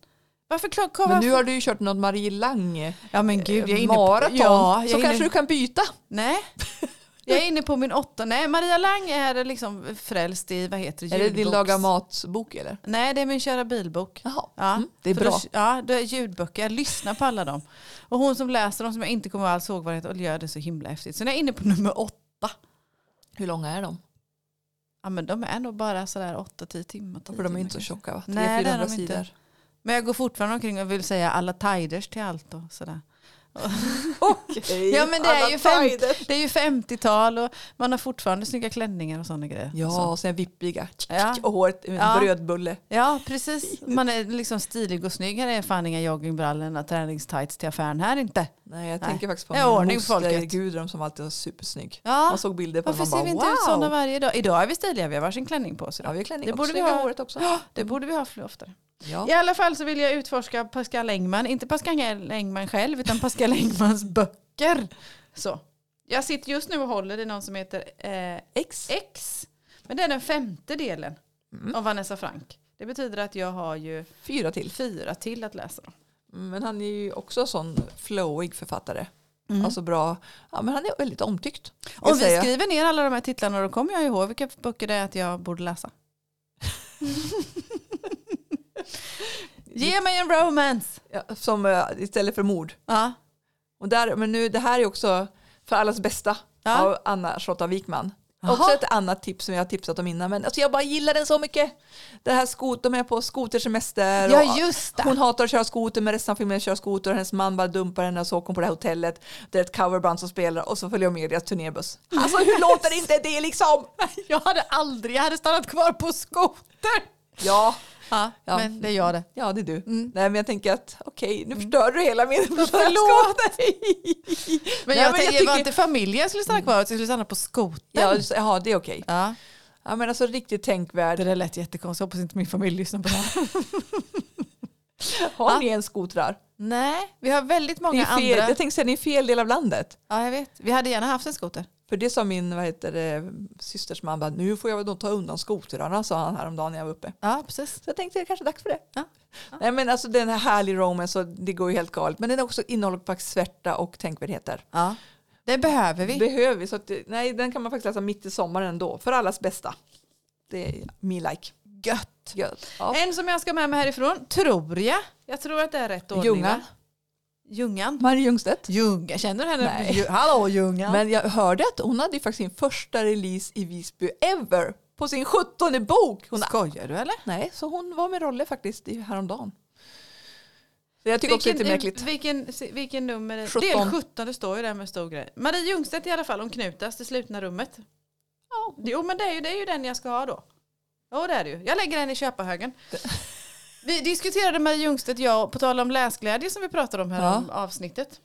Speaker 2: Varför klagar
Speaker 1: Men nu har du ju kört något Marie Lang eh,
Speaker 2: Ja men gud, jag är inne på...
Speaker 1: maraton.
Speaker 2: Ja, jag
Speaker 1: så
Speaker 2: är
Speaker 1: kanske
Speaker 2: inne...
Speaker 1: du kan byta.
Speaker 2: Nej. <laughs> Jag är inne på min åtta. Nej, Maria Lang är liksom frälst i, vad heter det,
Speaker 1: Är det din
Speaker 2: ljudboks-
Speaker 1: laga matbok eller?
Speaker 2: Nej, det är min kära bilbok.
Speaker 1: Jaha,
Speaker 2: Ja,
Speaker 1: mm, det är
Speaker 2: för
Speaker 1: bra.
Speaker 2: Då, ja, det är ljudböcker. Jag lyssnar på alla dem. Och hon som läser dem som jag inte kommer alls ihåg vad det heter och gör det så himla häftigt. Sen är jag inne på nummer åtta.
Speaker 1: Hur långa är de?
Speaker 2: Ja, men de är nog bara sådär 8-10 timmar. 10
Speaker 1: För de är
Speaker 2: timmar
Speaker 1: inte så
Speaker 2: kanske.
Speaker 1: tjocka va?
Speaker 2: Nej, det är
Speaker 1: 300-400
Speaker 2: de inte.
Speaker 1: sidor.
Speaker 2: Men jag går fortfarande omkring och vill säga alla tiders till allt och sådär.
Speaker 1: Okej,
Speaker 2: <laughs> Ja, men det är
Speaker 1: alla
Speaker 2: ju fem-
Speaker 1: tider.
Speaker 2: Det är ju 50-tal och man har fortfarande snygga klänningar och sådana grejer.
Speaker 1: Ja,
Speaker 2: Så.
Speaker 1: och sen vippiga.
Speaker 2: Ja.
Speaker 1: Och håret, en
Speaker 2: Ja.
Speaker 1: brödbulle.
Speaker 2: ja, precis. Man är liksom stilig och snygg. Här är fan inga joggingbrallor eller träningstights till affären här inte.
Speaker 1: Nej, jag
Speaker 2: Nej.
Speaker 1: tänker faktiskt på
Speaker 2: Det
Speaker 1: min
Speaker 2: är ordning på
Speaker 1: moster
Speaker 2: folket.
Speaker 1: Gudrun som alltid var supersnygg.
Speaker 2: Ja,
Speaker 1: Man såg bilder på
Speaker 2: varför
Speaker 1: honom
Speaker 2: ser
Speaker 1: och
Speaker 2: vi
Speaker 1: man
Speaker 2: inte
Speaker 1: bara
Speaker 2: ut sådana
Speaker 1: wow.
Speaker 2: varje dag? Idag är vi stiliga, vi har varsin klänning på oss
Speaker 1: Ja,
Speaker 2: idag.
Speaker 1: vi har klänning
Speaker 2: Det
Speaker 1: också.
Speaker 2: borde vi
Speaker 1: Snygga
Speaker 2: ha.
Speaker 1: håret också.
Speaker 2: Det borde vi ha fler oftare.
Speaker 1: Ja.
Speaker 2: I alla fall så vill jag utforska Pascal Engman. Inte Pascal Engman själv utan Pascal <laughs> Engmans böcker. Så. Jag sitter just nu och håller i någon som heter eh,
Speaker 1: X.
Speaker 2: X. Men det är den femte delen
Speaker 1: Mm.
Speaker 2: av Vanessa Frank. Det betyder att jag har ju
Speaker 1: Fyra till.
Speaker 2: fyra till att läsa. Då.
Speaker 1: Mm, Men han är ju också en sån flowig författare.
Speaker 2: Mm.
Speaker 1: Alltså bra. Ja, men han är väldigt omtyckt.
Speaker 2: Om vi
Speaker 1: Jag säger-
Speaker 2: skriver ner alla de här titlarna då kommer jag ihåg vilka böcker det är att jag borde läsa. <laughs> Ge mig en romance.
Speaker 1: Ja, som eh, istället för mord.
Speaker 2: Ja.
Speaker 1: Och där, men nu, det här är också För allas bästa
Speaker 2: Ja.
Speaker 1: av Anna Charlotta Wikman.
Speaker 2: Jaha.
Speaker 1: Också ett annat tips som jag har tipsat om innan. Men alltså jag bara gillar den så mycket. Det här skot, de är på skotersemester.
Speaker 2: ja,
Speaker 1: och-
Speaker 2: just det. <laughs>
Speaker 1: Hon hatar att köra skoter men resten av filmen kör skoter och hennes man bara dumpar henne och så åker hon på det här hotellet. Det är ett coverband som spelar och så följer hon med i deras turnébuss. Alltså hur låter inte det liksom?
Speaker 2: Jag hade aldrig, jag hade stannat kvar på skoter.
Speaker 1: Ja,
Speaker 2: Ja,
Speaker 1: Ja.
Speaker 2: men det är jag det.
Speaker 1: ja det är du. Mm. Nej men jag tänker att okej nu förstör du hela min <laughs>
Speaker 2: Förlåt. Men
Speaker 1: Nej,
Speaker 2: jag
Speaker 1: men jag
Speaker 2: tänker, var
Speaker 1: tycker-
Speaker 2: inte familjen jag skulle stanna kvar, jag skulle stanna på skoter.
Speaker 1: Ja, just- jaha, det är okej.
Speaker 2: Ja.
Speaker 1: Ja men alltså riktigt
Speaker 2: Det
Speaker 1: tänkvärd.
Speaker 2: där lät jättekonstigt, jag hoppas inte min familj lyssnar på det här.
Speaker 1: Har ni en skotrar?
Speaker 2: <laughs> Nej, vi har väldigt
Speaker 1: Ni är
Speaker 2: många
Speaker 1: fel,
Speaker 2: andra.
Speaker 1: jag tänkte säga ni är fel del av landet.
Speaker 2: Ja, jag vet. Vi hade gärna haft en skoter.
Speaker 1: För det sa min vad heter det, systers man, bara, nu får jag väl då ta undan skotrarna sa han häromdagen när jag var uppe.
Speaker 2: Ja, precis.
Speaker 1: Så jag tänkte det är kanske är dags för det.
Speaker 2: Ja.
Speaker 1: Nej men alltså den här härlig romance, och det går ju helt galet. Men den är också innehåller faktiskt svärta och tänkvärdheter.
Speaker 2: Ja. Det behöver vi.
Speaker 1: Behöver vi? Så att, det- nej den kan man faktiskt läsa mitt i sommaren ändå. För allas bästa. Det är me like.
Speaker 2: Gött.
Speaker 1: Gött. Eh, Ja.
Speaker 2: En som jag ska med mig härifrån, tror jag. Jag tror att det är rätt ordning.
Speaker 1: Ljungan.
Speaker 2: va? Ljungan.
Speaker 1: Marie Ljungstedt.
Speaker 2: Ljungan, känner du henne?
Speaker 1: Nej.
Speaker 2: Lju- Hallå Ljungan.
Speaker 1: Men jag hörde att hon hade ju faktiskt sin första release i Visby ever. På sin 17 bok. Hon
Speaker 2: Skojar du eller?
Speaker 1: nej, så hon var med Rolle faktiskt i- häromdagen. Så jag tycker också det är lite märkligt.
Speaker 2: Vilken, vilken nummer? är-
Speaker 1: 17.
Speaker 2: Del 17, det står ju där med stor grej. Marie Ljungstedt i alla fall, hon knutas det slutna rummet. Ja. Jo men det är, ju, det är ju den jag ska ha då. Jo det är det ju. Jag lägger den
Speaker 1: <laughs>
Speaker 2: i köpahögen. Vi diskuterade Marie Ljungstedt, jag, på tal om läsglädje som vi pratade om här
Speaker 1: Ja.
Speaker 2: om avsnittet.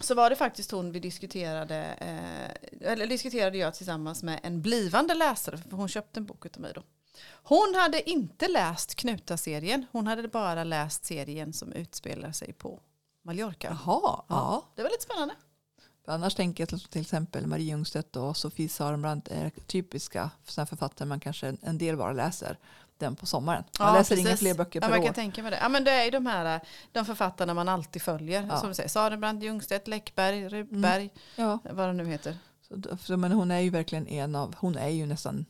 Speaker 2: Så var det faktiskt hon vi diskuterade, eh, eller diskuterade jag tillsammans med en blivande läsare, för hon köpte en bok utav mig då. Hon hade inte läst Knuta-serien. Hon hade bara läst serien som utspelar sig på Mallorca.
Speaker 1: Jaha, ja.
Speaker 2: Det var lite spännande.
Speaker 1: För Annars tänker jag till- till exempel Marie Ljungstedt och Sofie Sarenbrant är typiska såna här författare man kanske en- en del bara läser den på sommaren. Man läser inga
Speaker 2: precis.
Speaker 1: fler böcker
Speaker 2: ja,
Speaker 1: per
Speaker 2: man
Speaker 1: år.
Speaker 2: kan tänka mig det. Ja, men det är ju de här eh, de författarna man alltid följer.
Speaker 1: Ja.
Speaker 2: Som du säger, Sarenbrant, Ljungstedt, Läckberg, Rubberg,
Speaker 1: Ja.
Speaker 2: vad de nu heter.
Speaker 1: Så, då- för- men hon är ju verkligen en av, hon är ju nästan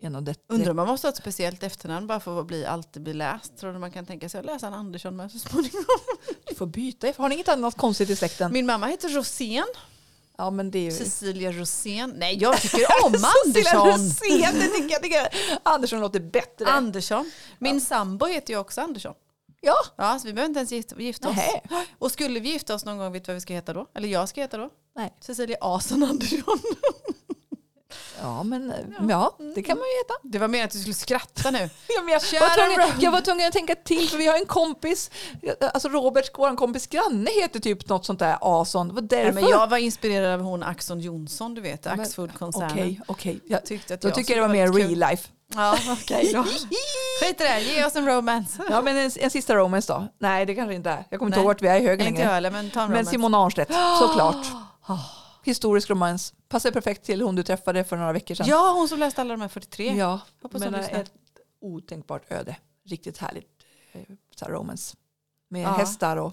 Speaker 1: en av det.
Speaker 2: Undrar om man måste ha ett speciellt efternamn bara för att bli, alltid bli läst. Tror du man kan tänka sig att läsa en Andersson med så småningom?
Speaker 1: Du får byta, har ni inget annat konstigt i släkten?
Speaker 2: Min mamma heter Rosén.
Speaker 1: Ja men det är ju...
Speaker 2: Cecilia Rosén. Nej, jag <laughs> tycker
Speaker 1: <laughs>
Speaker 2: om
Speaker 1: Cecilia
Speaker 2: Andersson.
Speaker 1: Rosén, det tycker jag, tycker Andersson låter bättre.
Speaker 2: Andersson. Min sambo heter ju också Andersson.
Speaker 1: ja,
Speaker 2: Ja, så vi behöver inte ens gifta, gifta oss.
Speaker 1: Nähä.
Speaker 2: Och skulle vi gifta oss någon gång, vet du vad vi ska heta då? Eller jag ska heta då?
Speaker 1: Nej.
Speaker 2: Cecilia Asen Andersson.
Speaker 1: ja men eh, ja, det kan man ju heta.
Speaker 2: Det var meningen att du skulle skratta <laughs> nu.
Speaker 1: Ja, men jag,
Speaker 2: Kära
Speaker 1: var tvungen,
Speaker 2: Robert.
Speaker 1: jag var tvungen att tänka till för vi har en kompis, alltså Roberts, vår kompis granne heter typ något sånt där Ason. Det var därför.
Speaker 2: Nej, men jag var inspirerad av hon Axon Johnson, du vet,
Speaker 1: men-
Speaker 2: Axfood-koncernen.
Speaker 1: Okej, okej. Jag
Speaker 2: Tyckte att
Speaker 1: Då
Speaker 2: jag
Speaker 1: tycker
Speaker 2: skulle
Speaker 1: jag det var mer
Speaker 2: vara lite
Speaker 1: real
Speaker 2: kul. <laughs>
Speaker 1: life.
Speaker 2: Ja, okej
Speaker 1: <laughs>
Speaker 2: då. Skit i det, ge oss en romance.
Speaker 1: Ja men en, en sista romance då? Nej det kanske inte är. Jag kommer inte
Speaker 2: Nej.
Speaker 1: ihåg vart vi är i högen
Speaker 2: Nej, inte jag
Speaker 1: längre.
Speaker 2: heller, men ta en
Speaker 1: Men
Speaker 2: romance. Ah.
Speaker 1: Simon Arnstedt,
Speaker 2: <gasps>
Speaker 1: såklart. Historisk romans. Passar perfekt till hon du träffade för några veckor sedan.
Speaker 2: Ja, hon som läste alla de här 43.
Speaker 1: ja.
Speaker 2: Hoppas hon
Speaker 1: men
Speaker 2: lyssnar.
Speaker 1: ett otänkbart öde. Riktigt härligt eh, så här romance. Med
Speaker 2: Ja.
Speaker 1: hästar och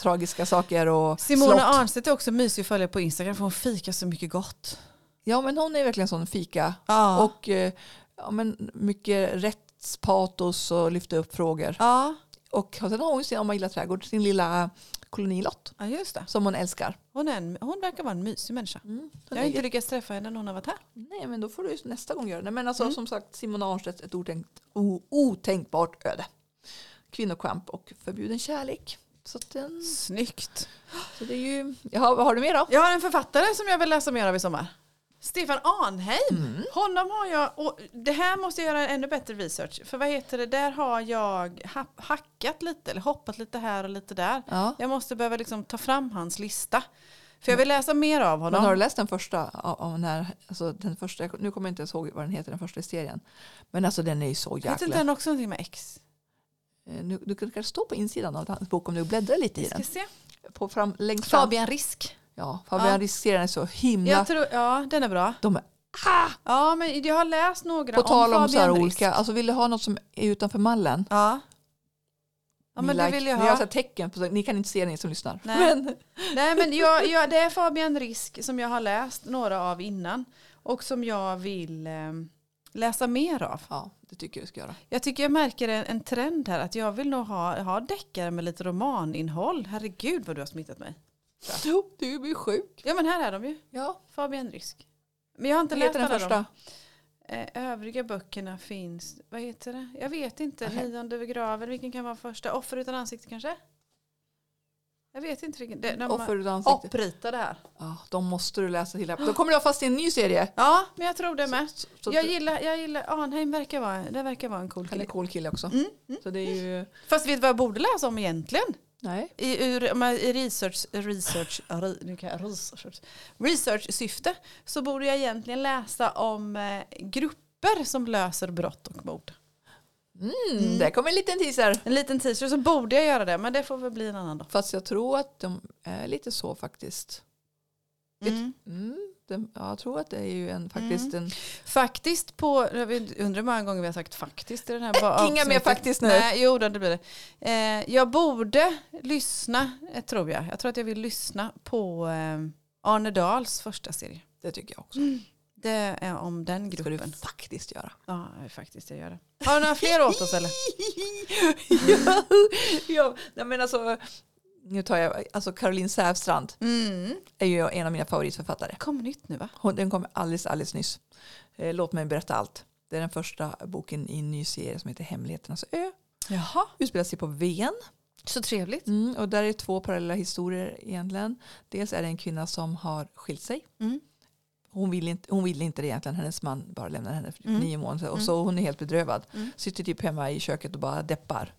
Speaker 1: tragiska saker och
Speaker 2: Simone
Speaker 1: slott.
Speaker 2: Arnstedt är också mysig att följa på Instagram för hon fikar så mycket gott.
Speaker 1: Ja men hon är verkligen sån fika
Speaker 2: Ja.
Speaker 1: och eh, ja, men mycket rättspatos och lyfta upp frågor.
Speaker 2: Ja,
Speaker 1: Och sen har hon ju sin, om man gillar trädgård, sin lilla kolonilott
Speaker 2: ja just det.
Speaker 1: som hon älskar.
Speaker 2: Hon, är en, hon verkar vara en mysig människa.
Speaker 1: Mm.
Speaker 2: Jag har inte lyckats träffa henne när hon har varit här.
Speaker 1: Nej men då får du ju nästa gång göra det. Men alltså som sagt Simone Arnstedt, ett otänkt, o, otänkbart öde. Kvinnokamp och förbjuden kärlek. Så, att den,
Speaker 2: Snyggt.
Speaker 1: så det är ju, jaha, vad har du mer då?
Speaker 2: Jag har en författare som jag vill läsa mer av i sommar. Stefan Arnheim.
Speaker 1: Mm.
Speaker 2: Honom har jag, och det här måste jag göra ännu bättre research. För vad heter det, där har jag ha- hackat lite, eller hoppat lite här och lite där.
Speaker 1: Ja.
Speaker 2: Jag måste behöva liksom ta fram hans lista. För jag vill läsa mer av
Speaker 1: Men har
Speaker 2: honom.
Speaker 1: du läst den första? Av, av den här, alltså den första, jag- nu kommer jag inte ens ihåg vad den heter, den första i serien. Men alltså den är ju så
Speaker 2: Heter inte
Speaker 1: jäkla...
Speaker 2: den också någonting med X?
Speaker 1: Eh, Nu, du kan kanske stå på insidan av hans bok om du bläddrar lite i
Speaker 2: Vi ska
Speaker 1: den.
Speaker 2: se.
Speaker 1: På fram, längst fram.
Speaker 2: Fabian Risk.
Speaker 1: Ja, Fabian
Speaker 2: Ja.
Speaker 1: riskerar är så himla...
Speaker 2: Jag tror, ja, den är bra.
Speaker 1: de är,
Speaker 2: Ja, men jag har läst några
Speaker 1: på tal om
Speaker 2: Fabian
Speaker 1: så här
Speaker 2: Risk.
Speaker 1: olika, alltså vill du ha något som är utanför mallen?
Speaker 2: Ja. Ja,
Speaker 1: Ni
Speaker 2: men det
Speaker 1: like-
Speaker 2: vill jag
Speaker 1: Ni har
Speaker 2: ha.
Speaker 1: så här tecken, på, ni kan inte se ni som lyssnar.
Speaker 2: Nej.
Speaker 1: Men,
Speaker 2: <laughs> Nej, men jag, jag, det är Fabian Risk som jag har läst några av innan och som jag vill eh, läsa mer av.
Speaker 1: ja, det tycker jag du ska göra.
Speaker 2: Jag tycker jag märker en, en trend här att jag vill nog ha, ha deckare med lite romaninnehåll. Herregud vad du har smittat mig.
Speaker 1: Jo, Du blir sjuk.
Speaker 2: Ja men här är de ju.
Speaker 1: Ja,
Speaker 2: Fabian Risk. Men jag har inte
Speaker 1: vad
Speaker 2: läst
Speaker 1: heter den
Speaker 2: alla dem.
Speaker 1: första?
Speaker 2: Eh, Övriga böckerna finns, vad heter det? Jag vet inte.
Speaker 1: Nej.
Speaker 2: Nionde vid graven, vilken kan vara första? Offer utan ansikte kanske? Jag vet inte vilken. Det, när man,
Speaker 1: Offer utan ansikte.
Speaker 2: Opprita det här.
Speaker 1: Ja, de måste du läsa hela. Då kommer du ha fast i en ny serie.
Speaker 2: Ja, men jag tror det med.
Speaker 1: Så
Speaker 2: jag,
Speaker 1: du-
Speaker 2: gillar, jag gillar, Arnheim verkar vara, det verkar vara en cool
Speaker 1: Han är
Speaker 2: kille.
Speaker 1: en cool kille också. Så det är ju...
Speaker 2: Fast vet du vad jag borde läsa om egentligen?
Speaker 1: Nej.
Speaker 2: I, ur, om jag- i research, research, re- nu kan jag research, research syfte så borde jag egentligen läsa om eh, grupper som löser brott och mord.
Speaker 1: Mm, Där kom en liten teaser.
Speaker 2: En liten teaser så borde jag göra det men det får väl bli en annan dag.
Speaker 1: Fast jag tror att de är lite så faktiskt. Mm, de, ja, jag tror att det är ju en faktiskt en...
Speaker 2: Faktiskt på, jag vet- undrar hur många gånger vi har sagt faktiskt i den här ba-
Speaker 1: Äh, Inga mer
Speaker 2: avsnittet.
Speaker 1: faktiskt nu.
Speaker 2: Nej, jo då, det blir det. Eh, jag borde lyssna, eh, tror jag. Jag tror att jag vill lyssna på eh, Arne Dahls första serie.
Speaker 1: Det tycker jag också.
Speaker 2: Det är om den
Speaker 1: Det ska du
Speaker 2: gruppen.
Speaker 1: faktiskt göra.
Speaker 2: Ja, faktiskt jag gör det. Har du några fler åt oss eller?
Speaker 1: ja, ja, nej men alltså, nu tar jag, alltså Caroline Säfstrand
Speaker 2: Mm.
Speaker 1: är ju en av mina favoritförfattare.
Speaker 2: Det kommer nytt nu va?
Speaker 1: Hon, den kom alldeles, alldeles nyss. Eh, Låt mig berätta allt. Det är den första boken i en ny serie som heter Hemligheternas ö.
Speaker 2: Jaha.
Speaker 1: Utspelar sig på Ven.
Speaker 2: Så trevligt.
Speaker 1: Mm, och där är två parallella historier egentligen. Dels är det en kvinna som har skilt sig.
Speaker 2: Mm.
Speaker 1: Hon ville inte, hon vill inte det egentligen. Hennes man bara lämnar henne för typ
Speaker 2: Mm.
Speaker 1: nio månader. Och
Speaker 2: Mm.
Speaker 1: så hon är helt bedrövad.
Speaker 2: Mm.
Speaker 1: Sitter typ hemma i köket och bara deppar.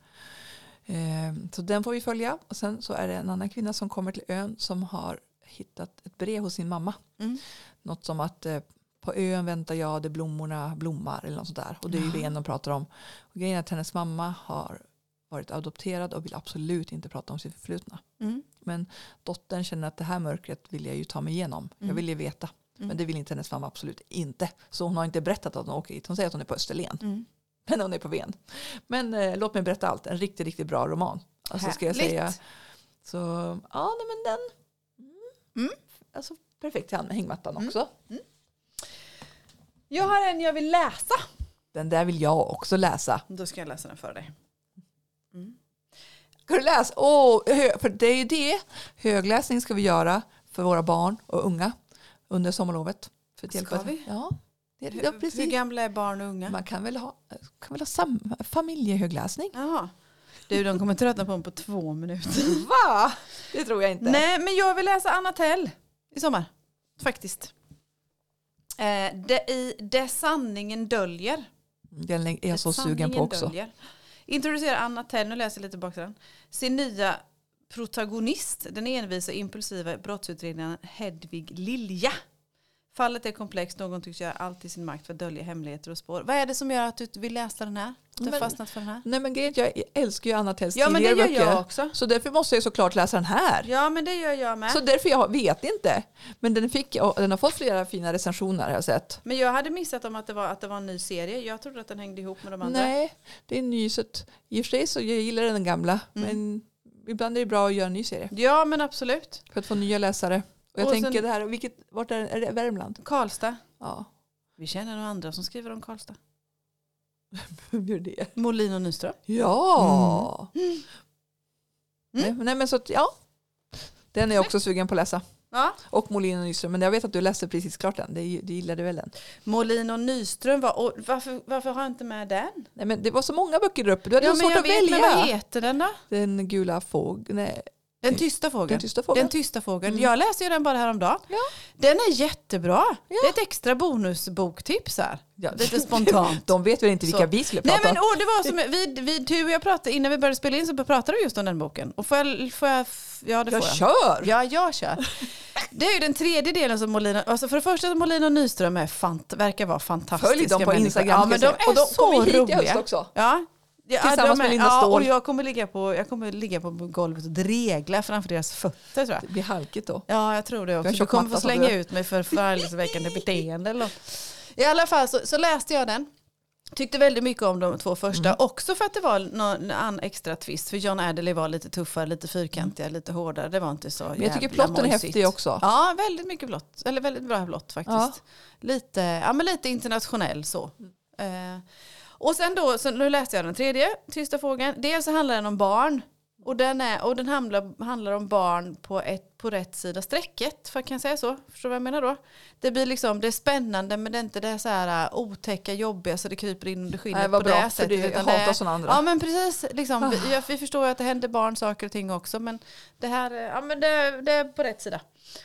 Speaker 1: Ehm, så den får vi följa. Och sen så är det en annan kvinna som kommer till ön som har hittat ett brev hos sin mamma.
Speaker 2: Mm.
Speaker 1: Något som att eh, på ön väntar jag där blommorna blommar eller något sånt där. Och det är ju det de pratar om. Och grejen är att hennes mamma har varit adopterad och vill absolut inte prata om sin förflutna.
Speaker 2: Mm.
Speaker 1: Men dottern känner att det här mörkret vill jag ju ta mig igenom. Jag
Speaker 2: Mm.
Speaker 1: vill ju veta.
Speaker 2: Mm.
Speaker 1: Men det vill inte hennes mamma absolut inte. Så hon har inte berättat att hon åker hit. Hon säger att hon är på Österlen. <laughs>
Speaker 2: Mm.
Speaker 1: Men hon är på Ven. Men eh, låt mig berätta allt. En riktigt, riktigt bra roman. Alltså, ska jag
Speaker 2: Härligt.
Speaker 1: säga. Så ja, nej, men den.
Speaker 2: Mm.
Speaker 1: Alltså, perfekt till hand med hängmattan också.
Speaker 2: Jag har en jag vill läsa.
Speaker 1: Den där vill jag också läsa.
Speaker 2: Då ska jag läsa den för dig.
Speaker 1: Mm. Ska du läsa? Åh, hö- för det är ju det. Högläsning ska vi göra för våra barn och unga under sommarlovet. För att
Speaker 2: Ska
Speaker 1: hjälpa-
Speaker 2: vi?
Speaker 1: Ja, det, ja
Speaker 2: Hur, hur
Speaker 1: precis.
Speaker 2: gamla är barn och unga?
Speaker 1: Man kan väl ha, kan väl ha sam, familjehögläsning?
Speaker 2: Jaha. Du, de kommer tröttna på den på två minuter.
Speaker 1: Va? Det tror jag inte.
Speaker 2: Nej, men jag vill läsa Anna Tell i sommar. Faktiskt. Eh, det, I Det sanningen döljer.
Speaker 1: Mm, Den är jag så
Speaker 2: Det
Speaker 1: sugen på
Speaker 2: sanningen
Speaker 1: också.
Speaker 2: döljer. Introducerar Anna Tell, nu läser jag lite tillbaka till den. Sin nya protagonist, den envisa och impulsiva brottsutredaren Hedvig Lilja. Fallet är komplext, någon tycks göra allt i sin makt för att dölja hemligheter och spår. Vad är det som gör att du vill läsa den här? Att Du har
Speaker 1: Men-
Speaker 2: fastnat för den här?
Speaker 1: Nej men grejen är att jag älskar ju Anna Tells
Speaker 2: Ja, men det
Speaker 1: tidigare
Speaker 2: gör
Speaker 1: böcker.
Speaker 2: jag också.
Speaker 1: Så därför måste jag såklart läsa den här.
Speaker 2: Ja, men det gör jag med.
Speaker 1: Så därför jag vet inte. Men den, fick, och den har fått flera fina recensioner har jag sett.
Speaker 2: Men jag hade missat om att det var, att det var en ny serie. Jag trodde att den hängde ihop med de andra.
Speaker 1: Nej, det är ny så att, i och för sig så jag gillar den gamla.
Speaker 2: Mm.
Speaker 1: Men ibland är det bra att göra en ny serie
Speaker 2: Ja, men absolut.
Speaker 1: för att få nya läsare. Och jag
Speaker 2: Och
Speaker 1: tänker
Speaker 2: sen-
Speaker 1: det här, vilket, vart är, är det Värmland?
Speaker 2: Karlstad.
Speaker 1: Ja, <laughs>
Speaker 2: Vi känner några andra som skriver om Karlstad.
Speaker 1: hur är det?
Speaker 2: Molin och Nyström.
Speaker 1: Ja!
Speaker 2: Mm.
Speaker 1: Nej, nej men så att, ja. Den är jag också sugen på att läsa.
Speaker 2: Ja.
Speaker 1: Och Molin och Nyström. Men jag vet att du läste precis klart den. Det, du gillade väl den?
Speaker 2: Molin och Nyström, var, och varför, varför har jag inte med den?
Speaker 1: Nej, men det var så många böcker där uppe. Du hade så svårt
Speaker 2: jag
Speaker 1: att
Speaker 2: vet,
Speaker 1: välja.
Speaker 2: Men vad heter den då?
Speaker 1: Den gula fågeln. Nej,
Speaker 2: Den tysta fågeln.
Speaker 1: den
Speaker 2: Mm.
Speaker 1: tysta fågeln.
Speaker 2: Den tysta fågeln. Jag läste ju den bara häromdagen.
Speaker 1: Ja.
Speaker 2: Den är jättebra. Det är ett extra bonusboktips här.
Speaker 1: Ja.
Speaker 2: Lite
Speaker 1: <laughs>
Speaker 2: spontant.
Speaker 1: De vet väl inte vilka
Speaker 2: Så.
Speaker 1: vi skulle
Speaker 2: Nej
Speaker 1: prata
Speaker 2: men
Speaker 1: om.
Speaker 2: åh, det var som, vi, vi, du och jag pratade, innan vi började spela in så pratade vi just om den boken. Och får jag, får jag ja det
Speaker 1: Jag
Speaker 2: får jag.
Speaker 1: kör!
Speaker 2: Ja,
Speaker 1: <laughs>
Speaker 2: jag kör. Det är ju den tredje delen som Molina, alltså för det första Molina och Nyström är fant, verkar vara fantastiska
Speaker 1: Följ dem på
Speaker 2: människor.
Speaker 1: Instagram.
Speaker 2: Ja, men
Speaker 1: ska
Speaker 2: de
Speaker 1: jag säga.
Speaker 2: är
Speaker 1: och de
Speaker 2: så
Speaker 1: kommer hit i höst
Speaker 2: roliga.
Speaker 1: också.
Speaker 2: Ja, Ja,
Speaker 1: Tillsammans
Speaker 2: de
Speaker 1: med
Speaker 2: är-
Speaker 1: Linda
Speaker 2: ja, och
Speaker 1: Ståhl.
Speaker 2: jag kommer, ligga på, jag kommer ligga på golvet och dregla framför deras fötter tror jag.
Speaker 1: Det blir halkigt då.
Speaker 2: Ja, jag tror det också.
Speaker 1: har
Speaker 2: Du
Speaker 1: tjock
Speaker 2: kommer
Speaker 1: matta,
Speaker 2: få
Speaker 1: sa du.
Speaker 2: slänga ut mig för förargelseväckande beteende eller något. I alla fall så, så läste jag den. Tyckte väldigt mycket om de två första. Också för att det var någon annan extra twist. För John Adderley var lite tuffare, lite fyrkantigare, lite hårdare. Det var inte så
Speaker 1: Men jag tycker
Speaker 2: jävla
Speaker 1: plotten är
Speaker 2: mojsigt.
Speaker 1: häftig också.
Speaker 2: Ja, väldigt mycket blått. Eller väldigt bra blått faktiskt.
Speaker 1: Ja.
Speaker 2: Lite, ja, men lite internationell så. Eh, och sen då, så nu läste jag den tredje, tysta fågeln. Dels så handlar den om barn. Och den, är, och den handlar, handlar om barn på, ett, på rätt sida strecket. För kan jag säga så? Förstår du vad jag menar då? Det blir liksom, det är spännande men det är inte det så här äh, otäcka, jobbiga så det kryper in under skinnet
Speaker 1: Nej, vad
Speaker 2: på
Speaker 1: bra,
Speaker 2: det
Speaker 1: för
Speaker 2: sättet.
Speaker 1: det- jag
Speaker 2: utan
Speaker 1: hatar såna andra. Ah.
Speaker 2: Ja men precis, liksom, vi, ja, vi förstår ju att det händer barn saker och ting också men det här, eh, ja men det, det är på rätt sida.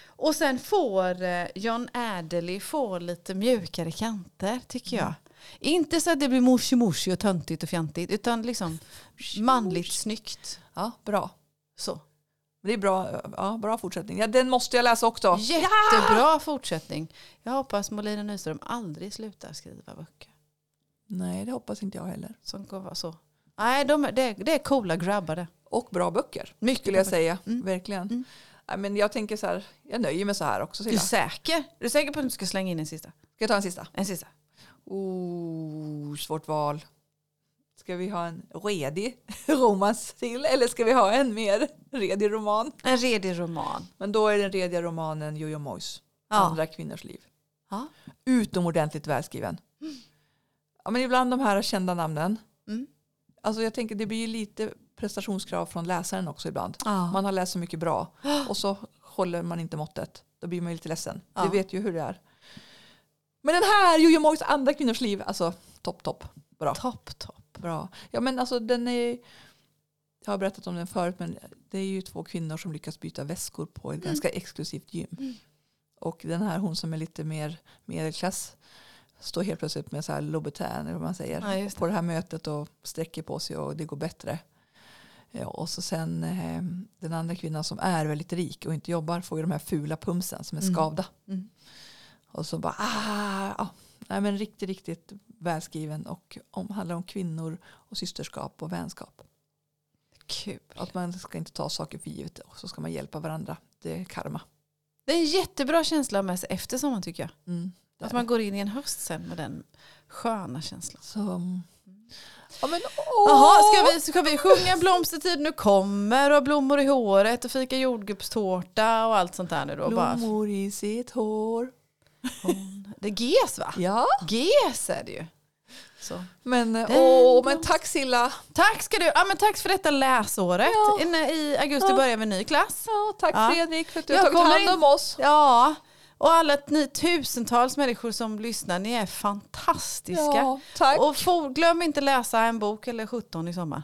Speaker 2: Och sen får eh, John Adderley får lite mjukare kanter tycker jag. Inte så att det blir moshi moshi och töntigt och fjantigt utan liksom manligt snyggt.
Speaker 1: Ja, bra.
Speaker 2: Så.
Speaker 1: Det är bra, ja, bra fortsättning. Ja, den måste jag läsa också.
Speaker 2: Jättebra fortsättning. Jag hoppas Molina Nyström aldrig slutar skriva böcker.
Speaker 1: Nej, det hoppas inte jag heller.
Speaker 2: Som går vara så. Nej, de, är- det, är- det är coola grabbar det.
Speaker 1: Och bra böcker,
Speaker 2: Mycket
Speaker 1: skulle jag
Speaker 2: bra
Speaker 1: säga. Verkligen.
Speaker 2: Mm.
Speaker 1: Nej, men jag tänker så här, jag nöjer mig så här också.
Speaker 2: Du
Speaker 1: Silla.
Speaker 2: är
Speaker 1: Ska
Speaker 2: säker? Du är säker på att du ska slänga in en sista?
Speaker 1: jag ta en sista?
Speaker 2: En sista.
Speaker 1: Oh, svårt val. Ska vi ha en redig <laughs> romans till eller ska vi ha en mer redig roman?
Speaker 2: En redig roman.
Speaker 1: Men då är den rediga romanen Jojo Moyes,
Speaker 2: Ja.
Speaker 1: Andra kvinnors liv.
Speaker 2: Ja.
Speaker 1: Utomordentligt välskriven. Ja, men ibland de här kända namnen.
Speaker 2: Mm.
Speaker 1: Alltså jag tänker det blir ju lite prestationskrav från läsaren också ibland.
Speaker 2: Ja.
Speaker 1: Man har läst så mycket
Speaker 2: <gasps>
Speaker 1: bra och så håller man inte måttet. Då blir man ju lite ledsen.
Speaker 2: Ja.
Speaker 1: Du vet ju hur det är. Men den här, Jojo Moyes andra kvinnors liv, alltså topp, topp. Bra.
Speaker 2: Topp, topp.
Speaker 1: Bra. Ja men alltså den är, jag har berättat om den förut men det är ju två kvinnor som lyckas byta väskor på
Speaker 2: Mm.
Speaker 1: ett ganska exklusivt gym. Och den här hon som är lite mer medelklass står helt plötsligt med så här Louboutin eller vad man säger
Speaker 2: Ja, just det.
Speaker 1: på det här mötet och sträcker på sig och det går bättre. Ja, och så sen eh, den andra kvinnan som är väldigt rik och inte jobbar får ju de här fula pumpsen som är
Speaker 2: Mm.
Speaker 1: skavda.
Speaker 2: Mm.
Speaker 1: Och så bara, ah, ja. Nej, men riktigt, riktigt välskriven och om, handlar om kvinnor och systerskap och vänskap.
Speaker 2: Kul.
Speaker 1: Att man ska inte ta saker för givet och så ska man hjälpa varandra. Det är karma.
Speaker 2: Det är en jättebra känsla med sig efter sommaren tycker jag.
Speaker 1: Mm, det
Speaker 2: Att
Speaker 1: är
Speaker 2: man går in i en höst sen med den sköna känslan.
Speaker 1: Så, mm. ja, men,
Speaker 2: Jaha,
Speaker 1: åh!
Speaker 2: ska vi, ska vi sjunga Blomstertid nu kommer och blommor i håret och fika jordgubbstårta och allt sånt där nu då? Bara,
Speaker 1: Blommor i sitt hår.
Speaker 2: det är GES va?
Speaker 1: Ja,
Speaker 2: GES är det ju. Så.
Speaker 1: men, eh,
Speaker 2: Den
Speaker 1: åh, men
Speaker 2: blomst-
Speaker 1: tack Silla.
Speaker 2: Tack ska du, ja, men tack för detta läsåret.
Speaker 1: Ja.
Speaker 2: Inne I augusti
Speaker 1: Ja.
Speaker 2: börjar vi en ny klass.
Speaker 1: Ja, tack
Speaker 2: Ja.
Speaker 1: Fredrik för att du
Speaker 2: Jag
Speaker 1: har tagit
Speaker 2: kommer
Speaker 1: hand
Speaker 2: in-
Speaker 1: om oss.
Speaker 2: Ja, och alla ni tusentals människor som lyssnar, ni är fantastiska.
Speaker 1: Ja, tack.
Speaker 2: Och for, glöm inte läsa en bok eller 17 i sommar.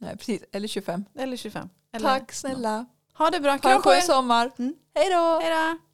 Speaker 1: Nej, precis. Eller 25.
Speaker 2: Eller 25. Eller,
Speaker 1: tack snälla.
Speaker 2: Ha det bra,
Speaker 1: Ha en
Speaker 2: kram på
Speaker 1: skön
Speaker 2: er.
Speaker 1: sommar.
Speaker 2: Mm.
Speaker 1: Hej då.
Speaker 2: Hej då.